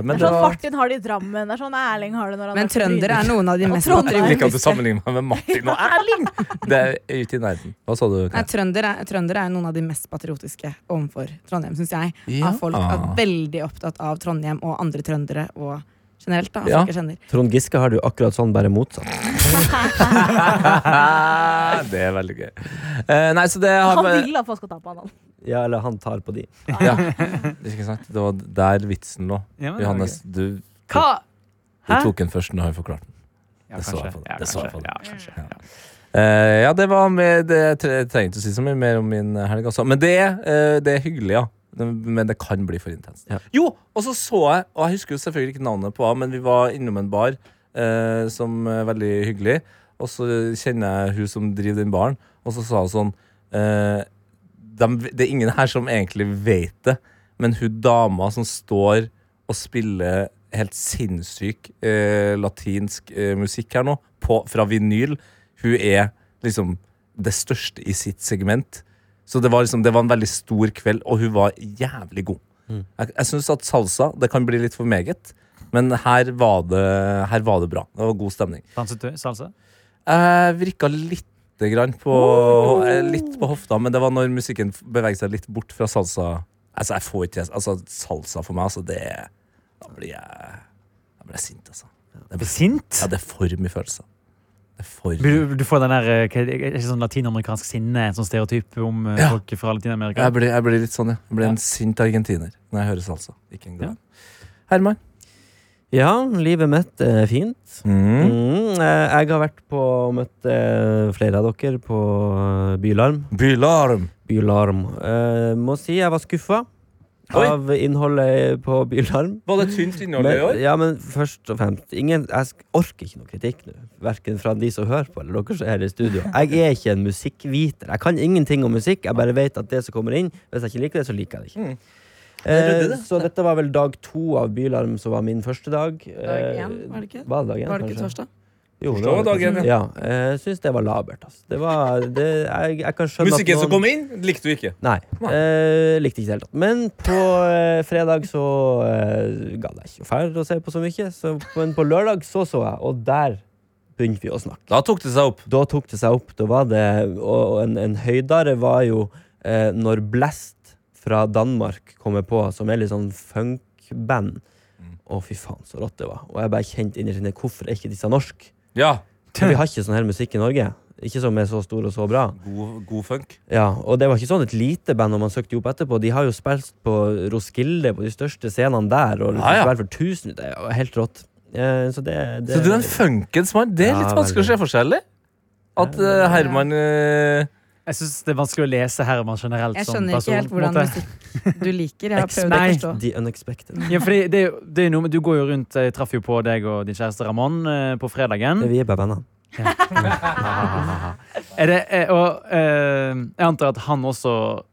Speaker 2: men
Speaker 7: [LAUGHS]
Speaker 2: det
Speaker 7: Det er sånn
Speaker 2: var
Speaker 7: Martin har det i Drammen, det er sånn Erling har det når han
Speaker 5: Men
Speaker 7: er fra Bryne.
Speaker 5: trøndere [LAUGHS] er noen av de
Speaker 7: Og
Speaker 5: mest
Speaker 7: Trondheim.
Speaker 2: Jeg liker at du
Speaker 5: patriotiske.
Speaker 2: sammenligner meg med Martin og Erling! Det er ute i nærheten. Hva sa du?
Speaker 5: Nei,
Speaker 2: Kaja?
Speaker 5: trøndere, er- trøndere er noen av de mest patriotiske overfor Trondheim, syns jeg.
Speaker 2: Ja. Ah.
Speaker 5: Av folk er veldig opptatt av Trondheim og andre trøndere og generelt. da,
Speaker 2: Ja.
Speaker 5: folk jeg kjenner.
Speaker 4: Trond Giske har du akkurat sånn, bare motsatt.
Speaker 2: [LAUGHS] det er veldig gøy. Eh, nei, så det har
Speaker 7: Han vil at folk skal ta på han. han.
Speaker 4: Ja, eller han tar på de.
Speaker 2: Ja, ikke sant? Det var der vitsen lå.
Speaker 6: [LAUGHS] Ja, men det er
Speaker 2: Johannes, du,
Speaker 6: Hva?
Speaker 2: du
Speaker 6: Hæ?
Speaker 2: tok den først. Nå har jeg forklart den.
Speaker 6: Ja,
Speaker 2: Det så
Speaker 6: kanskje.
Speaker 2: jeg på det.
Speaker 6: Ja,
Speaker 2: Det så jeg
Speaker 6: kanskje.
Speaker 2: på det.
Speaker 6: Ja, kanskje.
Speaker 2: Ja. Eh, ja, det var med det, Jeg tre- trenger ikke å si så mye mer om min helg, altså. Men det, eh, det er hyggelig, ja. Det- Men det kan bli for intenst.
Speaker 4: Ja.
Speaker 2: Jo, og så så jeg, og jeg husker jo selvfølgelig ikke navnet på henne, men vi var innom en bar eh, som er veldig hyggelig. Og så kjenner jeg hun som driver den baren, og så sa hun sånn eh, dem- Det er ingen her som egentlig vet det, men hun dama som står og spiller helt sinnssyk eh, latinsk eh, musikk her nå, på, fra vinyl, hun er liksom det største i sitt segment. Så det var, liksom, det var en veldig stor kveld, og hun var jævlig god. Jeg, jeg syns at salsa det kan bli litt for meget, men her var det, her var det bra. Det var god stemning.
Speaker 6: Danset du salsa?
Speaker 2: Jeg vrikka lite grann på, eh, litt på hofta, men det var når musikken f- beveget seg litt bort fra salsa. Altså, jeg får ikke altså, Salsa for meg, altså, det Da blir jeg, da blir jeg sint, altså. Det
Speaker 6: Blir
Speaker 2: blir,
Speaker 6: sint?
Speaker 2: ja, det er for mye følelser. Det er for mye.
Speaker 6: Du, du får den der eh, hva- er det sånn latinamerikansk sinne, en sånn stereotyp om eh,
Speaker 2: Ja.
Speaker 6: folk fra Latin-Amerika?
Speaker 2: Jeg blir, jeg blir litt sånn, ja. Jeg blir en sint argentiner når jeg hører salsa. Ikke en glad. Herman?
Speaker 4: Ja, livet mitt er fint. Mm, eh, jeg har vært på og møtt eh, flere av dere på eh, Bylarm.
Speaker 2: Bylarm!
Speaker 4: Bylarm. Eh, må si jeg var skuffa
Speaker 2: Oi.
Speaker 4: av innholdet på Bylarm.
Speaker 2: Var det tynt innhold i
Speaker 4: Men,
Speaker 2: år?
Speaker 4: ja, men først og fremst ingen, Jeg sk- orker ikke noe kritikk nå. Verken fra de som hører på, eller dere som er her i studio. Jeg er ikke en musikkviter. Jeg kan ingenting om musikk. Jeg bare vet at det som kommer inn, hvis jeg ikke liker det, så liker jeg det ikke.
Speaker 2: ryddig,
Speaker 4: Eh,
Speaker 2: Mm. det.
Speaker 4: så dette var vel dag to av Bylarm, som var min første dag. Eh,
Speaker 5: Dag én, var det ikke?
Speaker 4: Var det dag én,
Speaker 5: Var det ikke
Speaker 4: kanskje?
Speaker 5: torsdag?
Speaker 4: Jo, det
Speaker 2: Torsdag var dag
Speaker 4: det
Speaker 2: én,
Speaker 4: kanskje. ja. eh, Jeg syns det var labert. Altså. Det var, det, jeg, jeg kan skjønne at
Speaker 2: Musikken som
Speaker 4: noen-
Speaker 2: kom inn, likte du ikke.
Speaker 4: Nei. Eh, likte ikke det hele tatt. Men på eh, fredag så eh, gadd jeg ikke å fære å se på så mye. Så, men på lørdag så så jeg, og der begynte vi å snakke.
Speaker 2: Da tok det seg opp.
Speaker 4: Da tok det seg opp. Da var det, og og en, en høydare var jo eh, når Blast fra Danmark kommer på, som er litt sånn funkband.
Speaker 2: Mm.
Speaker 4: Å, fy faen, så rått det var. Og jeg bare kjente inni sinne hvorfor er ikke disse norsk?
Speaker 2: Ja.
Speaker 4: For vi har ikke sånn her musikk i Norge. Ikke som er så stor og så bra.
Speaker 2: God, god funk.
Speaker 4: Ja, og det var ikke sånn et lite band når man søkte jo opp etterpå. De har jo spilt på Roskilde, på de største scenene der, og liksom
Speaker 2: Ja, ja.
Speaker 4: spilt for tusen. Det er jo helt rått. Eh, så det, det
Speaker 2: Så du er en funkens mann. Det er litt
Speaker 4: Ja,
Speaker 2: vanskelig å se forskjell i. At eh, Herman eh,
Speaker 6: Jeg syns det er vanskelig å lese Herman generelt
Speaker 5: Jeg
Speaker 6: som
Speaker 5: skjønner ikke
Speaker 6: person.
Speaker 5: helt
Speaker 6: på en
Speaker 5: hvordan
Speaker 6: måte.
Speaker 5: musikk du liker.
Speaker 4: [LAUGHS]
Speaker 5: Jeg har prøvd å
Speaker 6: Nei.
Speaker 5: forstå. Mhm.
Speaker 4: The unexpected.
Speaker 6: Ja, fordi det, er jo- det er jo noe med, Du går jo rundt Jeg traff jo på deg og din kjæreste Ramón eh, på fredagen.
Speaker 4: Det er vi er bare venner.
Speaker 6: Er det, eh, og eh, Jeg antar at han også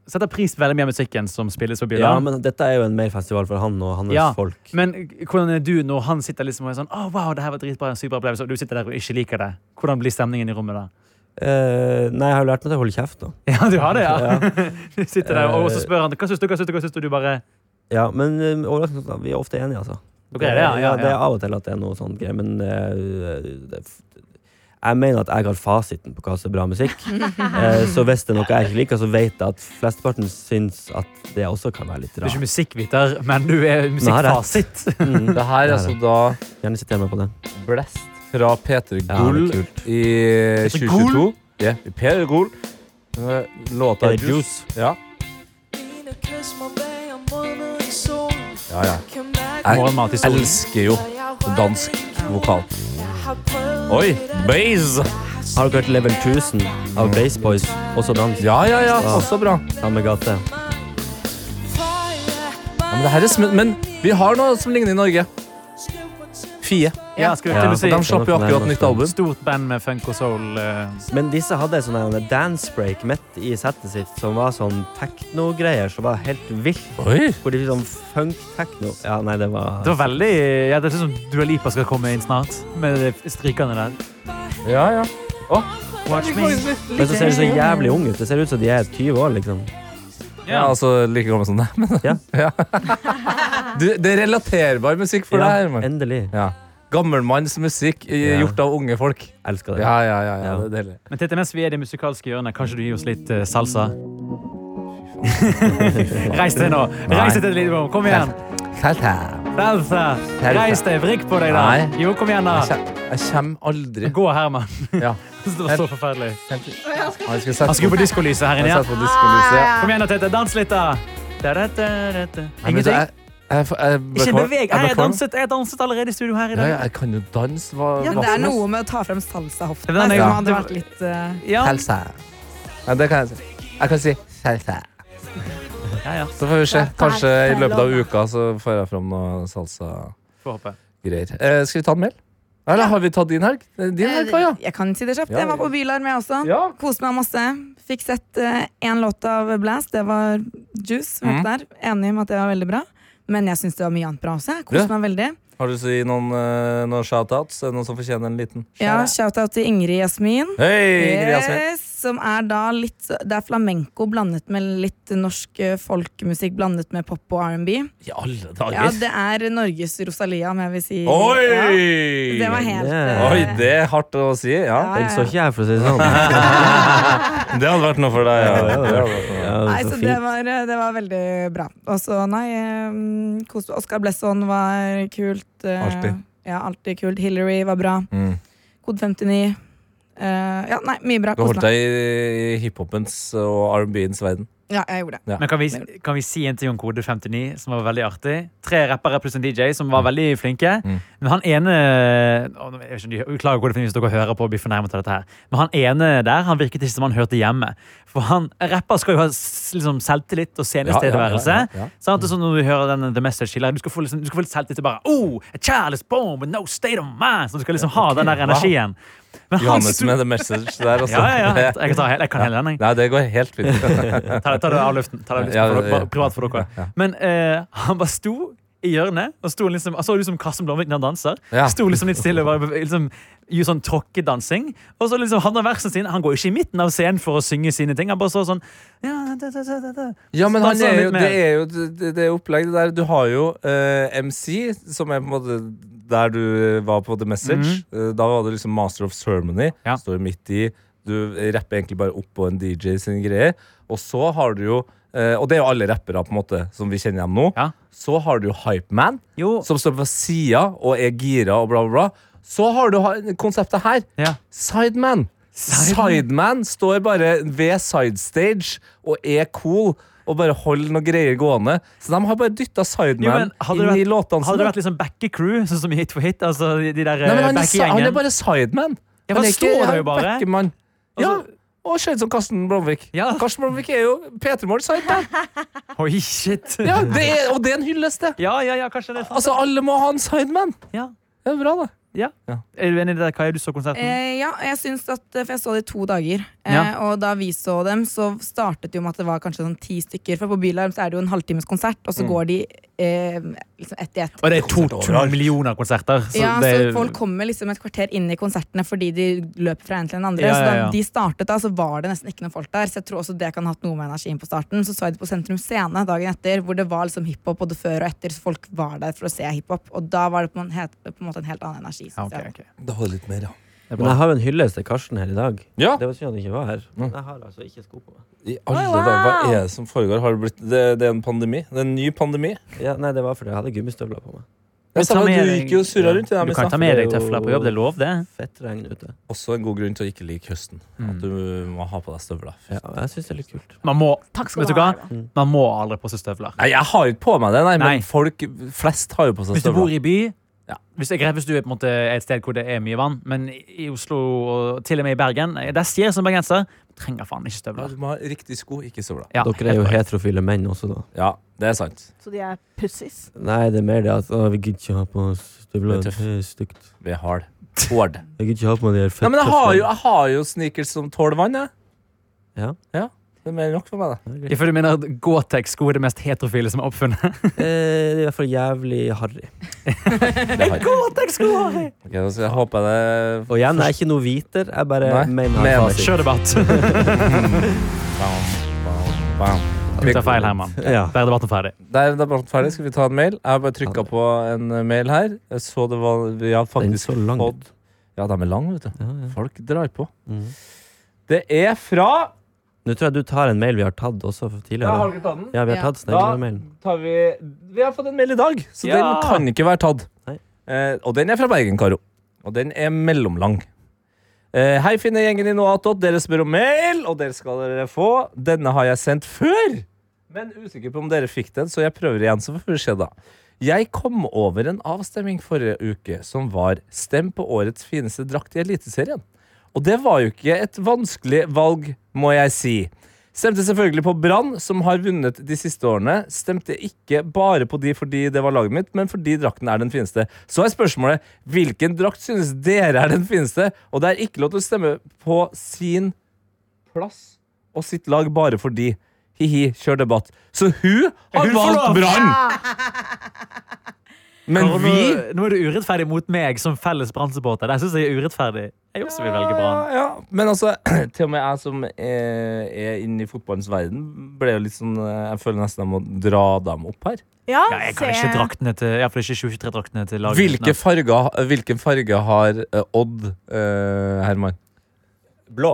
Speaker 6: setter pris på veldig mye av musikken som spilles på
Speaker 4: Ja,
Speaker 6: Bylarm.
Speaker 4: men dette er jo en mer festival for han og hans
Speaker 6: Ja,
Speaker 4: folk.
Speaker 6: men, hvordan er du når han sitter liksom og er sånn Å, wow, det her var dritbra, en super opplevelse, og du sitter der og ikke liker det? Hvordan blir stemningen i rommet da? [LAUGHS]
Speaker 4: Eh, nei, jeg har jo lært meg til å holde kjeft nå.
Speaker 6: Ja, du har det, ja.
Speaker 4: Ja.
Speaker 6: [LAUGHS] Du sitter der, og så spør han hva syns du, hva syns du, hva syns du? Du bare
Speaker 4: Ja, men eh, overraskende nok, da, vi er ofte enige, altså.
Speaker 6: Ok, det, ja, ja,
Speaker 4: Det er
Speaker 6: ja.
Speaker 4: av og til at det er noe sånt greier, men eh, det, jeg mener at jeg har fasiten på hva som er bra musikk. Eh, så hvis det er noe jeg ikke liker, så vet jeg at flesteparten syns at det også kan være litt
Speaker 6: Du er ikke
Speaker 4: rart.
Speaker 6: musikkviter, men du er musikkfasit.
Speaker 4: [LAUGHS]
Speaker 6: [LAUGHS]
Speaker 4: Mm,
Speaker 2: Det her er altså da
Speaker 4: gjerne sitter jeg med på den.
Speaker 2: Blest fra Peter
Speaker 4: Ja,
Speaker 2: Gull
Speaker 4: det er kult.
Speaker 2: i
Speaker 6: Peter
Speaker 2: 2022. Ja, Peter Gull. Eh, Låta
Speaker 4: Peter
Speaker 2: Juice. Ja. Ja, ja.
Speaker 6: Morgenmat i
Speaker 2: Jeg
Speaker 6: solen.
Speaker 2: elsker jo dansk vokal. Oi! Baze!
Speaker 4: Har dere hørt Level 1000 av Base Boys? Også dans.
Speaker 2: Ja, ja, ja. Også bra.
Speaker 4: Samme gate.
Speaker 2: Ja, men, det her er sm men vi har noe som ligner i Norge. Fie.
Speaker 6: Ja, skulle til
Speaker 4: Ja.
Speaker 6: å si.
Speaker 2: De slapp jo akkurat nytt album.
Speaker 6: Stort band med funk og soul. eh,
Speaker 4: Men disse hadde sånn en dance break midt i settet sitt, som var sånn tekno-greier som var helt vilt.
Speaker 2: Oi!
Speaker 4: Hvor de sånn funk-tekno Ja, nei, det var
Speaker 6: Det var veldig ja, Det er sånn som Dua Lipa skal komme inn snart, med de strikene der.
Speaker 2: Ja, ja.
Speaker 6: Watch me.
Speaker 4: Men så ser de så jævlig unge ut. Det ser ut som de er 20 år, liksom.
Speaker 2: ja altså like gammel som deg, men [LAUGHS]
Speaker 4: Ja.
Speaker 2: du, Det er relaterbar musikk for deg,
Speaker 4: Ja,
Speaker 2: Herman.
Speaker 4: endelig.
Speaker 2: Ja. Gammelmannsmusikk eh,
Speaker 4: Ja.
Speaker 2: gjort av unge folk.
Speaker 4: Elsker det.
Speaker 2: Ja, ja, ja. ja,
Speaker 4: Ja.
Speaker 2: det er deilig.
Speaker 6: Men Tete, mens vi er i det musikalske hjørnet, kanskje du gir oss litt
Speaker 2: [LAUGHS]
Speaker 6: eh, salsa? Reis deg nå. Reis deg til et lite rom. Kom igjen. Salsa. Reis deg. Vrikk på deg, da.
Speaker 2: Nei.
Speaker 6: Jo, kom igjen,
Speaker 2: Jeg
Speaker 6: da.
Speaker 2: kjem- jeg kommer aldri
Speaker 6: Gå, Herman.
Speaker 2: [LAUGHS] ja.
Speaker 6: [LAUGHS] Det var så forferdelig.
Speaker 2: Han skal sette
Speaker 6: Han skulle på diskolyset her inne.
Speaker 2: Jeg
Speaker 6: ja.
Speaker 2: satt på diskolyset. ja.
Speaker 6: Kom igjen, da, Tete. Dans litt, da. Da-da-da-da-da.
Speaker 2: Nei, men så
Speaker 6: Ingenting.
Speaker 2: Jeg, jeg, jeg,
Speaker 6: Ikke
Speaker 2: bekval-
Speaker 6: beveg.
Speaker 2: jeg
Speaker 6: Nei, Jeg
Speaker 2: bekval-
Speaker 6: danset, jeg danset allerede i studio her i
Speaker 2: Ja,
Speaker 6: dag.
Speaker 2: ja, jeg kan jo danse. Hva,
Speaker 5: Ja,
Speaker 2: hva
Speaker 5: det
Speaker 2: som
Speaker 5: er
Speaker 2: helst.
Speaker 5: noe med å ta frem salsahoftene
Speaker 6: Den er-
Speaker 5: som
Speaker 2: Ja.
Speaker 5: hadde vært litt eh,
Speaker 6: Ja.
Speaker 2: Salsa. Ja, det kan jeg si. Jeg kan si salsa.
Speaker 6: Ja, ja.
Speaker 2: Så får vi se. Kanskje i løpet av uka så får jeg fram noe salsa-greier.
Speaker 6: Får håpe.
Speaker 2: Eh, skal vi ta en mail? Eller har vi tatt din helg? Eh, Din helg, Kaja.
Speaker 5: Jeg kan si det kjapt.
Speaker 2: Ja,
Speaker 5: Jeg var på Bylarm, jeg også.
Speaker 2: Ja.
Speaker 5: Koste meg masse. Fikk sett én låt av Blast. Det var Juice.
Speaker 2: Mhm.
Speaker 5: hørte Der. Enig med at det var veldig bra. Men jeg syns det var mye annet bra også. Jeg Koste
Speaker 2: Ja.
Speaker 5: meg veldig.
Speaker 2: Har du lyst til å gi noen, eh, noen shoutouts? Er det Noen som fortjener en liten?
Speaker 5: Ja, Eh, Shout-out til Ingrid Jasmin.
Speaker 2: Hei, Ingrid Jasmin.
Speaker 5: Yes, som er da litt Det er flamenco blandet med litt norsk eh, folkemusikk blandet med pop og R&B.
Speaker 2: I alle
Speaker 5: Ja,
Speaker 2: dager.
Speaker 5: det er Norges Rosalia, om jeg vil si. Ja,
Speaker 2: Oi!
Speaker 5: det var helt
Speaker 4: Yeah.
Speaker 5: eh,
Speaker 2: Oi, det er hardt å si. Ja.
Speaker 5: Ja,
Speaker 4: Den
Speaker 5: ja,
Speaker 4: så
Speaker 5: ja.
Speaker 4: ikke jeg, for å si det sånn.
Speaker 2: [LAUGHS] Det hadde vært noe for deg. Ja. Det hadde vært noe.
Speaker 4: Ja,
Speaker 5: Nei,
Speaker 4: så
Speaker 5: så det
Speaker 4: fint.
Speaker 5: var, eh, det var veldig bra. Og så, nei eh, koste- Oscar Blesson var kult. eh,
Speaker 2: Alltid.
Speaker 5: Ja, alltid kult. Hillary var bra.
Speaker 2: Mm.
Speaker 5: Kode 59. eh, ja, nei, mye bra.
Speaker 2: Du holdt
Speaker 5: Koste meg.
Speaker 2: deg i i hiphopens og R&B-ens verden.
Speaker 5: Ja, jeg gjorde det.
Speaker 6: Men kan vi, kan vi si en ting om kode 59, som var veldig artig? Tre rappere pluss en DJ som var veldig flinke.
Speaker 2: Mm.
Speaker 6: Men han ene å, nå- jeg vet ikke om de- Beklager kode 59 hvis dere hører på og blir fornærmet av dette her. Men han ene der han virket ikke som han hørte hjemme. For han, rapper skal jo ha s- liksom, selvtillit og scenetilstedeværelse.
Speaker 2: Ja, ja, ja, ja, ja.
Speaker 6: Sant? Det er sånn når du hører den The Message til Du skal få, liksom, du skal få litt selvtillit og bare Oh, a child is born with no state of mind. Så du skal liksom ha den der
Speaker 2: wow.
Speaker 6: energien. Men han
Speaker 2: Johannes
Speaker 6: sto-
Speaker 2: med the message der, altså.
Speaker 6: Ja, ja, ja. Jeg kan, ta, hele- jeg kan hele den,
Speaker 2: [LAUGHS]
Speaker 6: jeg.
Speaker 2: Nei, det går helt fint.
Speaker 6: Ta det, ta det av luften. Ta det av luften
Speaker 2: Ja,
Speaker 6: for,
Speaker 2: ja, ja.
Speaker 6: bare Privat for dere.
Speaker 2: Ja, ja.
Speaker 6: Men eh, han bare sto i hjørnet og sto liksom, han så ut som Karsten Blomvik når han danser.
Speaker 2: Ja.
Speaker 6: Sto liksom litt stille og bare beve- liksom, gjorde sånn tråkkedansing. Og så liksom havna versen sin. Han går ikke i midten av scenen for å synge sine ting. Han bare står sånn ja, da, da, da, da, da.
Speaker 2: Ja, men
Speaker 6: Så
Speaker 2: han
Speaker 6: danser
Speaker 2: er
Speaker 6: litt
Speaker 2: jo,
Speaker 6: mer.
Speaker 2: det er jo det, det er opplegg det der. Du har jo eh, MC, som er på en måte der du var på The Message. Eh, da var det liksom Master of Ceremony.
Speaker 6: Mhm. Ja.
Speaker 2: Står midt i. Du rapper egentlig bare opp på en DJ sine greier. Og så har du jo eh, Og det er jo alle rappere på en måte som vi kjenner igjen nå.
Speaker 6: Ja.
Speaker 2: Så har du Hypeman,
Speaker 6: Jo.
Speaker 2: som står på sida og er gira og bla, bla, bla. Så har du ha- konseptet her.
Speaker 6: Ja.
Speaker 2: Sideman.
Speaker 6: Sideman.
Speaker 2: Sideman. står bare ved sidestage og er cool og bare holder noen greier gående. Så de har bare dytta
Speaker 6: Jo, men
Speaker 2: Sideman
Speaker 6: hadde
Speaker 2: inn
Speaker 6: det
Speaker 2: i låtene
Speaker 6: Hadde det
Speaker 2: sine.
Speaker 6: vært liksom backe-crew, sånn som i Hit for hit? Altså de, de der
Speaker 2: Nei, men
Speaker 6: eh,
Speaker 2: han, er, si- han er
Speaker 6: backe-gjengen?
Speaker 2: bare Sideman.
Speaker 6: Ja,
Speaker 2: Han
Speaker 6: han
Speaker 2: er ikke-
Speaker 6: står der
Speaker 2: han
Speaker 6: jo
Speaker 2: er
Speaker 6: bare. Altså-
Speaker 2: backeman. Ja, og skjedd som Karsten Blomvik.
Speaker 6: Ja.
Speaker 2: Karsten Blomvik er jo P3-mål Sideman.
Speaker 6: Oi, shit.
Speaker 2: Ja, det er, og det er en hyllest, det.
Speaker 6: Ja, ja, ja, kanskje det. er sant.
Speaker 2: Altså, alle må ha en Sideman.
Speaker 6: Ja.
Speaker 2: Det er bra, det.
Speaker 6: Ja. Er du enig i det der, Kaja? Du så konserten?
Speaker 5: Eh, ja, jeg syns at, for jeg så det i to dager. Eh,
Speaker 6: Ja.
Speaker 5: Og da vi så
Speaker 6: Mm.
Speaker 5: dem, så startet det jo med at det var kanskje sånn ti stykker. For på Bylarm så er det jo en halvtimes konsert, og så går de eh, liksom ett i ett.
Speaker 6: Og det er 2000 millioner konserter. Så
Speaker 5: ja,
Speaker 6: det,
Speaker 5: så Folk kommer liksom et kvarter inn i konsertene fordi de løper fra en til en andre.
Speaker 6: Ja, ja,
Speaker 5: Så
Speaker 6: ja.
Speaker 5: da de startet, da, så var det nesten ikke noen folk der. Så jeg tror også det kan ha hatt noe med energien på starten. Så så jeg det på Sentrum Scene dagen etter, hvor det var liksom hiphop både før og etter. Så folk var der for å se hiphop. Og da var det på en, het, på en måte en helt annen energi.
Speaker 6: ja,
Speaker 5: synes
Speaker 6: ok,
Speaker 5: jeg.
Speaker 6: ok.
Speaker 2: Det var litt mer, ja.
Speaker 6: Det er
Speaker 4: Men
Speaker 6: bra.
Speaker 4: jeg har jo en hyllest til Karsten her i dag.
Speaker 2: Ja.
Speaker 4: Det var synd han ikke var her.
Speaker 2: Mm.
Speaker 4: Jeg har altså ikke sko på meg.
Speaker 2: I alle dager, hva er det som foregår? Har det, blitt, det, det er en pandemi. Det er en ny pandemi.
Speaker 4: Ja, nei, det var fordi jeg hadde gummistøvler på meg.
Speaker 2: Jeg
Speaker 6: Men ta
Speaker 2: sa det,
Speaker 6: med
Speaker 2: du
Speaker 6: deg-
Speaker 2: gikk jo og surra
Speaker 6: ja.
Speaker 2: rundt i dem i
Speaker 6: Du kan
Speaker 2: stad.
Speaker 6: ta med deg
Speaker 4: Det er
Speaker 6: tøfler på
Speaker 4: jo-
Speaker 6: jobb, det er lov,
Speaker 5: Mm.
Speaker 6: det. Mm.
Speaker 4: Fett regn ute.
Speaker 2: Også en god grunn til å ikke like høsten. At du må ha på deg støvler.
Speaker 4: Ja, og jeg syns det er litt kult. Mm.
Speaker 6: Man må,
Speaker 7: Takk skal
Speaker 6: vet
Speaker 7: du
Speaker 6: du hva?
Speaker 7: ha. Eva.
Speaker 6: Man må aldri på seg støvler.
Speaker 2: Nei, jeg har ikke på meg det, nei,
Speaker 6: Nei.
Speaker 2: men folk flest har jo på seg
Speaker 6: Hvis du bor
Speaker 2: støvler.
Speaker 6: i by
Speaker 2: Ja.
Speaker 6: hvis, det er greit, hvis du er på en måte et sted hvor det er mye vann, men i Oslo og til og med i Bergen Der sier jeg som bergenser trenger faen ikke
Speaker 2: Ja,
Speaker 6: støvler.
Speaker 2: du må ha riktig sko, ikke støvler.
Speaker 6: Ja,
Speaker 4: Dere er jo
Speaker 6: helt korrekt.
Speaker 4: heterofile menn også, da.
Speaker 2: Ja, det er sant.
Speaker 7: Så de er pussies.
Speaker 4: Nei, det er mer det at å, vi gidder ikke ha på oss støvler.
Speaker 2: Det er
Speaker 4: Det
Speaker 2: tøft.
Speaker 4: er stygt.
Speaker 2: Vi har [LAUGHS] hård.
Speaker 4: Jeg gidder ikke ha på meg de her
Speaker 2: Ja,
Speaker 4: fett
Speaker 2: men jeg har, jo,
Speaker 4: tøflene.
Speaker 2: jeg har jo sneakers som tåler vann, jeg.
Speaker 4: Ja.
Speaker 2: Det er mer enn nok for meg, det.
Speaker 4: Det er greit.
Speaker 6: Ifølge mener at Gore-Tex-sko er det mest heterofile som er [LAUGHS] oppfunnet.
Speaker 4: Eh, Det er i hvert fall jævlig harry.
Speaker 2: det har jeg. Ok, da skal jeg håpe det
Speaker 4: Og igjen, jeg er ikke noe hviter. Jeg bare
Speaker 2: Nei,
Speaker 4: mener jeg
Speaker 2: mener.
Speaker 4: har fasit.
Speaker 6: Sjødebatt. [LAUGHS]
Speaker 2: Bam, bam, bam.
Speaker 6: Du tar feil, Herman.
Speaker 4: Ja.
Speaker 6: Der er debatten ferdig.
Speaker 2: Der, det er bare ferdig. Skal vi ta en mail? Jeg har bare trykka på en mail her. Jeg så det var Vi har
Speaker 4: Den
Speaker 2: faktisk
Speaker 4: så lang ut.
Speaker 2: fått Ja, de er lange, vet du.
Speaker 4: Ja, ja.
Speaker 2: Folk drar på.
Speaker 4: Mhm.
Speaker 2: Det er fra
Speaker 4: Nå tror jeg du tar en mail vi har tatt også tidligere.
Speaker 2: ikke tatt den.
Speaker 4: Ja, vi har
Speaker 5: Ja.
Speaker 4: tatt Sneglermailen.
Speaker 2: tar vi Vi har fått en mail i dag, så
Speaker 6: Ja!
Speaker 2: den kan ikke være tatt.
Speaker 4: Nei.
Speaker 2: Eh, og den er fra Bergen, Karo. Og den er mellomlang. Eh, hei, finne gjengen i Noatot. Dere spør om mail, og dere skal dere få. Denne har jeg sendt før, men usikker på om dere fikk den, så jeg prøver igjen, så får vi se, da. Jeg kom over en avstemning forrige uke som var 'Stem på årets fineste drakt i Eliteserien'. Og det var jo ikke et vanskelig valg, må jeg si. Stemte selvfølgelig på Brann, som har vunnet de siste årene. Stemte ikke bare på de fordi det var laget mitt, men fordi drakten er den fineste. Så er spørsmålet hvilken drakt synes dere er den fineste? Og det er ikke lov til å stemme på sin plass og sitt lag bare fordi. Hihi, kjør debatt. Så hun har
Speaker 6: Hun får
Speaker 2: valgt
Speaker 6: lov.
Speaker 2: Brann! Men
Speaker 6: Nå-
Speaker 2: vi
Speaker 6: Nå er du urettferdig mot meg som felles Brann-supporter. Der syns jeg er urettferdig. Jeg også vil velge Brann.
Speaker 2: Ja, ja. Men altså, [CLEARS THROAT] til og med jeg som er, er inne i fotballens verden, ble jo litt sånn eh, Jeg føler nesten jeg må dra dem opp her.
Speaker 7: Ja,
Speaker 6: Ja, jeg kan
Speaker 7: se.
Speaker 6: ikke draktene til i hvert fall ikke 2023-draktene til laget.
Speaker 2: Hvilke farger, hvilken farge har eh, Odd, eh, Herman?
Speaker 4: Blå.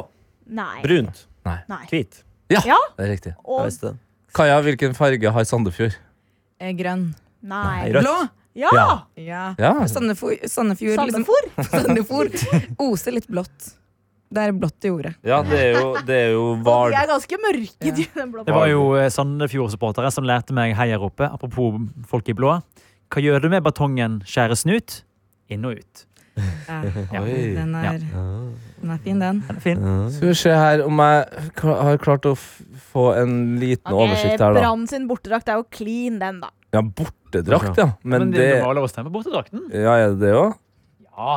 Speaker 7: Nei.
Speaker 4: Brunt.
Speaker 7: Nei.
Speaker 4: Hvit.
Speaker 2: Det er riktig.
Speaker 4: Jeg
Speaker 7: Og
Speaker 4: visste det.
Speaker 2: Kaja, hvilken farge har Sandefjord?
Speaker 5: Eh, grønn.
Speaker 7: nei.
Speaker 4: Rødt.
Speaker 5: Blå!
Speaker 7: Ja!
Speaker 2: Ja.
Speaker 5: Ja.
Speaker 2: Ja.
Speaker 5: Sandefjord, Sandefjord, liksom,
Speaker 7: Sandefjord.
Speaker 5: [LAUGHS] Sandefjord oser litt blått. Det er blått i ordet.
Speaker 2: ja, det er jo, det er jo
Speaker 7: Og
Speaker 2: Hval.
Speaker 7: De er ganske mørke, de den blå
Speaker 6: Det var jo eh, Sandefjord-supportere som lærte meg heiaropet. Apropos folk i blå. Hva gjør du med batongen, kjære snut? Inn og ut.
Speaker 5: Ja.
Speaker 2: [LAUGHS] Oi.
Speaker 5: Den, er, den er fin, den.
Speaker 6: Den er fin.
Speaker 2: Skal vi se her om jeg kla- har klart å f få en liten
Speaker 7: Ok,
Speaker 2: oversikt her, da.
Speaker 7: Brann sin bortedrakt er jo clean, den, da.
Speaker 2: Ja, bortedrakt, ja. Men,
Speaker 6: Men det
Speaker 2: det
Speaker 6: er lov å stemme bort til drakten.
Speaker 2: Ja, er det det òg?
Speaker 6: Ja.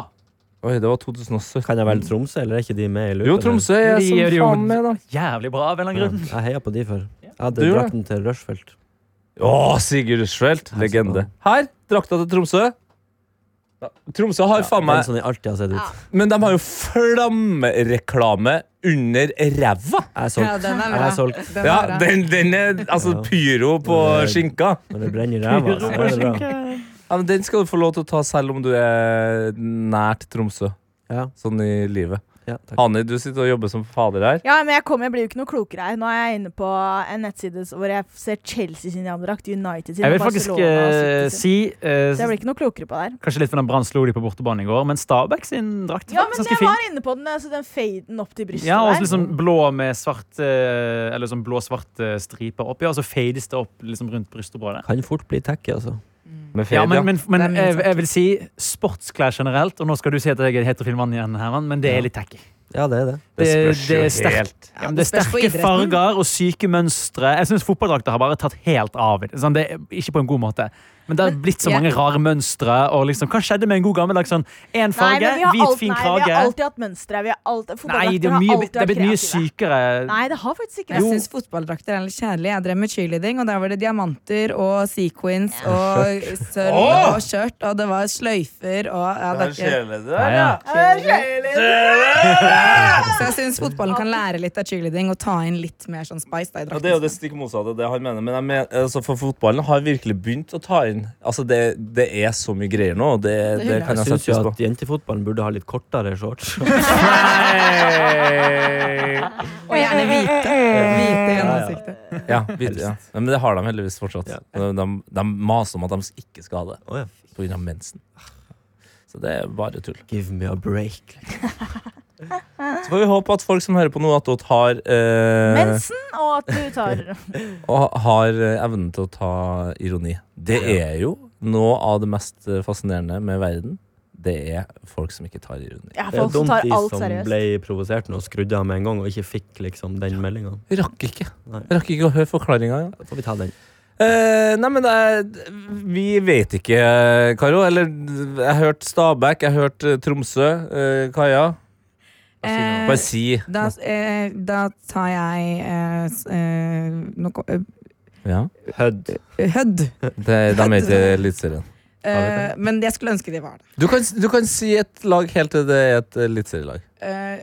Speaker 2: Oi, det var 2017.
Speaker 4: Kan jeg velge Tromsø, eller er ikke de med i loopen?
Speaker 2: Jo, Tromsø er
Speaker 6: De
Speaker 2: som
Speaker 6: gjør jo-
Speaker 2: faen med, da.
Speaker 6: Jævlig bra, av en eller
Speaker 4: Ja,
Speaker 6: annen grunn.
Speaker 4: Jeg heia på de før. Jeg hadde
Speaker 2: Du gjorde
Speaker 4: drakten til Rushfeldt.
Speaker 2: Å, Sigurd Rushfeldt.
Speaker 4: Her,
Speaker 2: Legende. Her, drakta til Tromsø. Ja, Tromsø har faen
Speaker 4: Den sånn
Speaker 2: meg
Speaker 4: som de alltid har sett
Speaker 7: Ja.
Speaker 4: ut.
Speaker 2: Men de har jo flammereklame under ræva!
Speaker 4: Jeg
Speaker 5: Ja,
Speaker 4: solgt.
Speaker 5: den er
Speaker 4: Jeg
Speaker 5: bra.
Speaker 4: har solgt.
Speaker 5: Den
Speaker 2: Ja,
Speaker 5: er bra.
Speaker 2: den, den er altså
Speaker 4: Ja.
Speaker 2: pyro på
Speaker 4: Det er-
Speaker 2: skinka.
Speaker 4: Når det brenner i ræva, så er det bra.
Speaker 2: Ja, men Den skal du få lov til å ta selv om du er nært Tromsø.
Speaker 4: Ja,
Speaker 2: Sånn i livet.
Speaker 4: ja, takk.
Speaker 2: Hani, du sitter og jobber som fader her.
Speaker 7: Ja, men jeg, kommer- jeg blir jo ikke noe klokere her. Nå er jeg inne på en nettside s- hvor jeg ser Chelsea sin jamdrakt, United sin
Speaker 6: Jeg vil
Speaker 7: og
Speaker 6: faktisk
Speaker 7: Barcelona
Speaker 6: eh,
Speaker 7: og City sin.
Speaker 6: si eh,
Speaker 7: Så jeg blir ikke noe klokere på det her.
Speaker 6: Kanskje litt for den Brann slo de på bortebane i går, men Stabæk sin drakt er
Speaker 7: Ja,
Speaker 6: faktisk
Speaker 7: men
Speaker 6: ganske
Speaker 7: jeg
Speaker 6: fin.
Speaker 7: var inne på den, altså den faden opp til brystet
Speaker 6: Ja, og så
Speaker 7: der.
Speaker 6: liksom blå med svart eh, Eller sånn blå-svart eh, striper oppi, og så fades det opp liksom rundt brystområdet.
Speaker 4: Kan fort bli tacky, altså.
Speaker 2: Med
Speaker 6: Ja,
Speaker 2: fade,
Speaker 6: men, men,
Speaker 5: Det er
Speaker 6: men eh,
Speaker 5: mye
Speaker 6: jeg,
Speaker 5: tacky.
Speaker 6: jeg vil si sportsklær generelt, og nå skal du si at jeg er heterofil mann igjen, Herman, men det er litt tacky.
Speaker 4: Ja, det er det.
Speaker 6: Det,
Speaker 2: spørs
Speaker 6: det
Speaker 2: jo
Speaker 6: er sterk,
Speaker 2: helt.
Speaker 6: ja, men det er
Speaker 5: det spørs på
Speaker 6: sterke
Speaker 5: idretten.
Speaker 6: farger og syke mønstre. Jeg syns fotballdrakter har bare tatt helt av. i det. Sånn, det er ikke på en god måte. Men det har blitt så
Speaker 5: Ja.
Speaker 6: mange rare mønstre. Og liksom, hva skjedde med en god gammeldags sånn én
Speaker 7: Nei,
Speaker 6: farge,
Speaker 7: men vi har,
Speaker 6: hvit,
Speaker 7: alt,
Speaker 6: fin
Speaker 7: nei, vi har
Speaker 6: krage?
Speaker 7: alltid hatt mønstre. Vi har alt,
Speaker 6: Nei, det er,
Speaker 7: har
Speaker 6: mye,
Speaker 7: alltid
Speaker 6: det er
Speaker 7: vært
Speaker 6: blitt mye
Speaker 7: kreative.
Speaker 6: sykere.
Speaker 7: Nei, det har faktisk ikke
Speaker 5: Jeg
Speaker 7: det.
Speaker 5: syns fotballdrakter er litt kjedelig. Jeg drev med cheerleading, og der var det diamanter og sequins og sølv og skjørt, og det var sløyfer og ja,
Speaker 2: Det er
Speaker 5: det er ikke-
Speaker 2: kjedelig, det der,
Speaker 6: Ja,
Speaker 2: ja.
Speaker 6: ja.
Speaker 7: Eh.
Speaker 5: Så jeg syns fotballen kan lære litt av cheerleading og ta inn litt mer sånn spice da, i
Speaker 2: Ja, det er jo
Speaker 5: drakten.
Speaker 2: det stikk motsatte av det han mener. Men jeg men, altså, for fotballen har virkelig begynt å ta inn Altså, det, det er så mye greier nå. og Det, det,
Speaker 5: hyller
Speaker 2: kan
Speaker 4: Jeg
Speaker 2: jeg
Speaker 4: syns
Speaker 2: sette
Speaker 4: jo
Speaker 2: pris på.
Speaker 4: at jentefotballen burde ha litt kortere shorts.
Speaker 5: Og gjerne hvite. Hvite i ansiktet.
Speaker 2: Ja, vid- ja. Nei, Men det har de heldigvis fortsatt. De, de, de maser om at de ikke skal ha det
Speaker 4: Å, ja.
Speaker 2: pga. mensen. Så det er bare tull.
Speaker 4: Give me a break. liksom.
Speaker 2: Så får vi håpe at folk som hører på nå, at dere har, eh,
Speaker 6: [LAUGHS]
Speaker 7: Mensen og at du tar
Speaker 2: og har eh, evnen til å ta ironi. Det er jo noe av det mest eh, fascinerende med verden. Det er folk som ikke tar ironi.
Speaker 7: [LAUGHS] ja,
Speaker 4: Det er
Speaker 7: Folk som
Speaker 4: dumt
Speaker 7: tar
Speaker 4: de
Speaker 7: alt
Speaker 4: som
Speaker 7: seriøst.
Speaker 4: ble provosert nå og skrudde av med en gang og ikke fikk liksom den meldinga.
Speaker 2: Rakk ikke.
Speaker 4: Nei.
Speaker 2: Rakk ikke å høre forklaringa. Ja.
Speaker 4: Får vi ta den.
Speaker 2: Eh, nei, men det er, vi vet ikke, Karo. Eller jeg hørte Stabæk, jeg hørte Tromsø. Eh, Kaja?
Speaker 5: Eh,
Speaker 2: Bare si.
Speaker 5: Da, eh, da tar jeg eh, s- eh, noe eh,
Speaker 2: Ja.
Speaker 4: Hødd.
Speaker 5: Hødd.
Speaker 2: Det, de er ikke Eliteserien.
Speaker 5: Eh, men jeg skulle ønske de var det.
Speaker 2: Du, kan- du kan si et lag helt til det er et eliteserielag.
Speaker 5: Eh,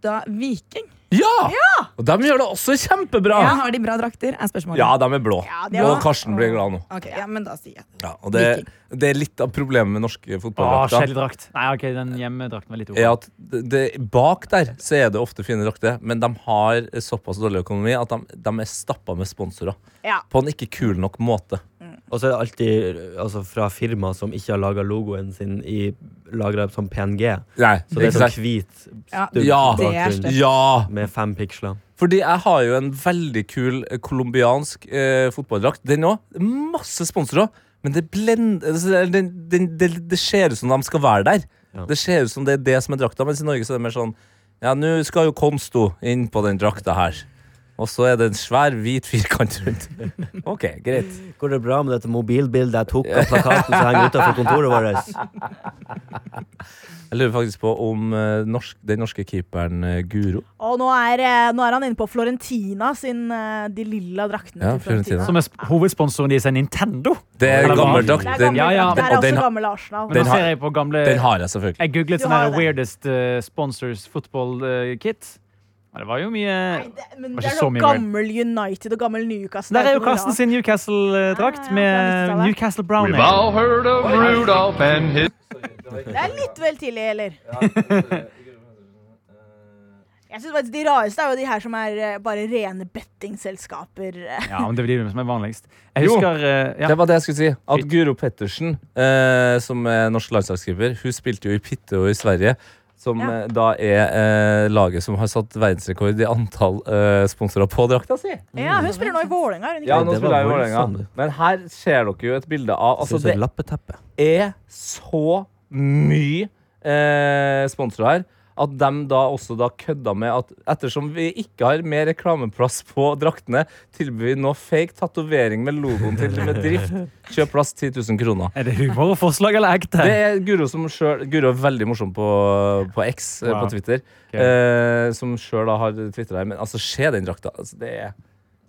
Speaker 5: da Viking
Speaker 2: Ja! Og de gjør det også kjempebra!
Speaker 5: ja. Har de bra drakter? Er spørsmålet.
Speaker 2: Ah. Ja, de er blå.
Speaker 7: Ja, det
Speaker 2: og
Speaker 7: var-
Speaker 2: Karsten blir glad nå.
Speaker 5: Ok, ja, men da sier jeg det.
Speaker 2: Ja, og det, det er litt av problemet med norske
Speaker 6: Åh,
Speaker 2: fotballdrakter.
Speaker 6: Kjedelig drakt. Nei, ok, den hjemmedrakten var litt
Speaker 2: er
Speaker 6: ok.
Speaker 2: at det, det, Bak der så er det ofte fine drakter, men de har såpass dårlig økonomi at de, de er stappa med sponsorer.
Speaker 7: Ja.
Speaker 2: På en ikke kul nok måte.
Speaker 4: Og så er det alltid altså, fra firma som ikke har laga logoen sin i lagra som PNG.
Speaker 2: Nei,
Speaker 4: Så det er
Speaker 2: ikke
Speaker 4: sånn
Speaker 2: sant?
Speaker 4: hvit
Speaker 5: Ja,
Speaker 4: dum
Speaker 2: Ja.
Speaker 5: Det er
Speaker 4: bakgrunn
Speaker 5: stygt.
Speaker 2: Ja!
Speaker 4: med fem piksler.
Speaker 2: Fordi jeg har jo en veldig kul eh, colombiansk eh, fotballdrakt. Den òg. Masse sponsorer. Men det, blend, altså, det- den, den, det, det ser ut som de skal være der.
Speaker 4: Ja.
Speaker 2: Det ser ut som det er det som er drakta, mens i Norge så er det mer sånn Ja, nå skal jo Konsto inn på den drakta her. Og så er det en svær, hvit firkant rundt. [LAUGHS] OK, greit.
Speaker 4: Går det bra med dette mobilbildet jeg tok av plakaten som henger utenfor kontoret
Speaker 5: [LAUGHS]
Speaker 4: vårt?
Speaker 2: Jeg lurer faktisk på om eh, norsk, den norske keeperen eh, Guro
Speaker 7: Og nå er, eh, nå er han inne på Florentina sin eh, De lilla draktene
Speaker 2: Ja,
Speaker 7: til Florentina.
Speaker 2: Fiorentina.
Speaker 6: Som er sp- hovedsponsoren deres, er Nintendo.
Speaker 2: Det er
Speaker 6: Eller hva?
Speaker 2: gammel drakt.
Speaker 7: Det er
Speaker 2: Den,
Speaker 7: gammel,
Speaker 6: Ja, ja,
Speaker 7: drakt.
Speaker 2: og den
Speaker 7: det er også
Speaker 2: har-
Speaker 7: gammel Arsenal.
Speaker 6: Men
Speaker 2: Den
Speaker 6: nå
Speaker 2: har-
Speaker 6: ser jeg på gamle
Speaker 2: den har jeg selvfølgelig.
Speaker 6: Jeg googlet
Speaker 7: Du
Speaker 6: sånn
Speaker 7: har
Speaker 6: her
Speaker 7: det.
Speaker 6: weirdest eh, sponsors football eh, kit. Og det var jo mye
Speaker 7: Nei, det, men
Speaker 6: Var ikke
Speaker 7: det er
Speaker 6: så
Speaker 7: sånn
Speaker 6: mye
Speaker 7: gammel United og gammel Newcastle.
Speaker 6: Der er jo
Speaker 7: ikke noe
Speaker 6: Karsten
Speaker 7: rart. Ah,
Speaker 6: sin Newcastle-drakt
Speaker 7: Ja, ja,
Speaker 6: med
Speaker 7: fra 90-tallet.
Speaker 6: Newcastle Brown.
Speaker 8: We've all heard of Rudolph and his.
Speaker 7: Det er litt vel tidlig, eller? Jeg synes faktisk De rareste er jo de her som er eh, bare rene bettingselskaper.
Speaker 6: Ja, men det blir det som er vanligst. Jeg husker eh, ja.
Speaker 2: Det var det jeg skulle si. At Guro Pettersen, eh, som er norsk landslagsskipper, hun spilte jo i Pitte og i Sverige. Som
Speaker 7: Ja.
Speaker 2: eh, da er eh, laget som har satt verdensrekord i antall eh, sponsorer på drakta si.
Speaker 7: Ja, Hun spiller nå i Vålerenga. er hun ikke?
Speaker 2: Ja, nå
Speaker 4: det var
Speaker 2: spiller jeg i Vålerenga.
Speaker 4: voldsomt.
Speaker 2: Men her ser dere jo et bilde av
Speaker 4: Altså,
Speaker 2: Altså,
Speaker 4: det...
Speaker 2: det
Speaker 4: Lappeteppe.
Speaker 2: er så mye eh, sponsorer her. At de da også da kødda med at ettersom vi ikke har mer reklameplass på draktene, tilbyr vi nå fake tatovering med logoen til bedrift. [LAUGHS] Kjøp plass 10 000 kroner.
Speaker 6: Er det humorforslag eller ekte?
Speaker 2: Det er Guro som selv, Guro er veldig morsom på, på X, eh,
Speaker 6: Wow.
Speaker 2: på Twitter.
Speaker 6: Ok.
Speaker 2: Eh, som sjøl har tvitra her. Men altså, se den drakta. Altså, det er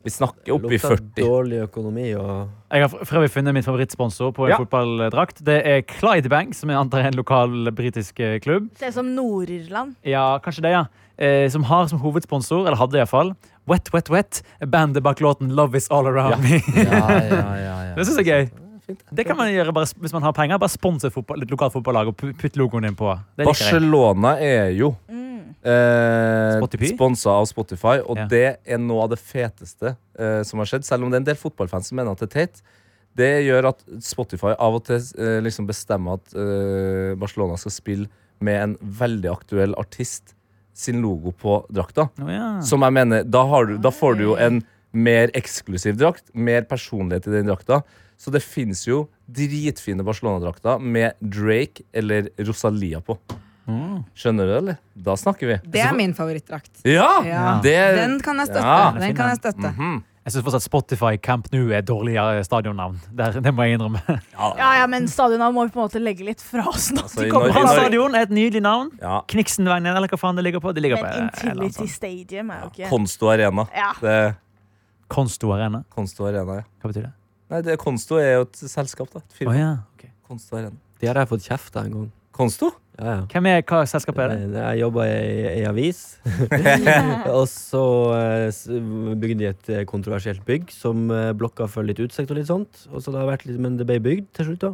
Speaker 2: Vi snakker opp i
Speaker 4: Lukta
Speaker 2: 40.
Speaker 4: dårlig økonomi og
Speaker 6: Jeg har for for øvrig funnet min favorittsponsor på en
Speaker 2: Ja.
Speaker 6: fotballdrakt. Det er Clydebank, som jeg antar er en lokal britisk eh, klubb.
Speaker 7: Ser ut som Nord-Irland.
Speaker 6: Ja, kanskje det, ja. Eh, som har som hovedsponsor, eller hadde iallfall, Wet Wet Wet. Bandet bak låten Love Is All Around Me.
Speaker 2: Ja, ja, ja, ja.
Speaker 6: Det syns jeg er gøy. Det kan man gjøre bare, s- hvis man har penger. Bare sponse fotball, et lokalt fotballag og pu- putt logoen din på. Det liker jeg.
Speaker 2: Barcelona er jo
Speaker 7: Mm.
Speaker 2: eh,
Speaker 6: Spotify?
Speaker 2: sponsa av Spotify, og
Speaker 6: Ja.
Speaker 2: det er noe av det feteste eh, som har skjedd. Selv om det er en del fotballfans som mener at det er teit. Det gjør at Spotify av og til eh, liksom bestemmer at eh, Barcelona skal spille med en veldig aktuell artist sin logo på drakta.
Speaker 6: Å, ja.
Speaker 5: Mm.
Speaker 2: Som jeg mener, da, har du, da får du jo en mer eksklusiv drakt, mer personlighet i den drakta. Så det fins jo dritfine Barcelona-drakter med Drake eller Rosalia på. Skjønner du, eller? Da snakker vi.
Speaker 5: Det er min favorittdrakt.
Speaker 2: Ah, Ja!
Speaker 5: Ja.
Speaker 2: Det,
Speaker 5: Den kan jeg støtte.
Speaker 2: Ja. Mhm.
Speaker 5: Den kan jeg støtte.
Speaker 6: Jeg Jeg syns fortsatt Spotify Camp Nou er et dårligere stadionnavn. Der, det må jeg innrømme.
Speaker 7: Ja, ja, men stadionene må vi på en måte legge litt fra oss nå.
Speaker 2: Altså, i
Speaker 7: de
Speaker 2: Norge-
Speaker 7: kommer
Speaker 2: i
Speaker 6: Brann
Speaker 2: Norge-
Speaker 7: altså.
Speaker 6: stadion er et nydelig navn.
Speaker 2: Ja.
Speaker 6: Kniksenveien, eller hva faen det ligger på. Det ligger
Speaker 7: Men
Speaker 6: på eh, eller
Speaker 7: Intility
Speaker 6: annet sånt.
Speaker 7: Stadium er jo ikke
Speaker 2: Konsto Arena.
Speaker 7: Ja.
Speaker 2: Det er
Speaker 6: Konsto Arena.
Speaker 2: Konsto Arena, ja.
Speaker 6: Hva betyr det?
Speaker 2: Nei, det, Konsto er jo et selskap, da. Et
Speaker 6: Å
Speaker 2: firma.
Speaker 6: ja. ok.
Speaker 2: Konsto Arena.
Speaker 4: De har jeg fått kjeft av en gang.
Speaker 2: Konsto?
Speaker 4: Ja, ja.
Speaker 6: Hvem er, hva selskap er det?
Speaker 4: Jeg, Eh, jeg jobba i ei avis, [LAUGHS] og så eh, s- bygde de et eh, kontroversielt bygg som eh, blokka for litt utsikt og litt sånt. Og så det har vært litt, men det ble bygd til slutt, da.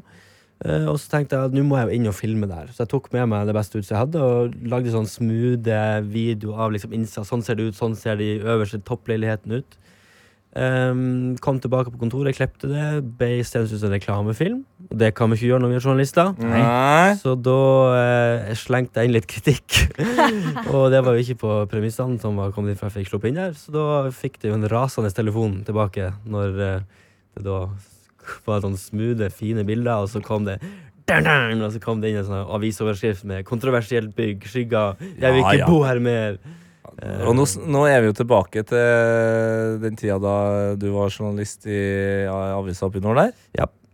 Speaker 4: Eh, Og så tenkte jeg at nå må jeg jo inn og filme der. Så jeg tok med meg det beste utstyret jeg hadde, og lagde sånn smooth video av liksom innsida. Sånn ser det ut, sånn ser de øverste toppleiligheten ut. Ehm, kom tilbake på kontoret, klepte det, ble istedenfor en reklamefilm. Og det kan vi ikke gjøre når vi er journalister.
Speaker 2: Nei.
Speaker 4: Så da eh, slengte jeg inn litt kritikk. og det var jo ikke på premissene som var kommet inn fra jeg fikk sluppet inn der. Så da fikk det jo en rasende telefon tilbake når eh, det da var sånn smoothe, fine bilder, og så kom det «Dun-dun!» og så kom det inn en sånn avisoverskrift med 'kontroversielt bygg', 'skygger', 'jeg vil
Speaker 2: Ja,
Speaker 4: ikke
Speaker 2: ja.
Speaker 4: bo her mer'.
Speaker 2: Og nå, s- nå er vi jo tilbake til den tida da du var journalist i ja, avisa oppi nord der.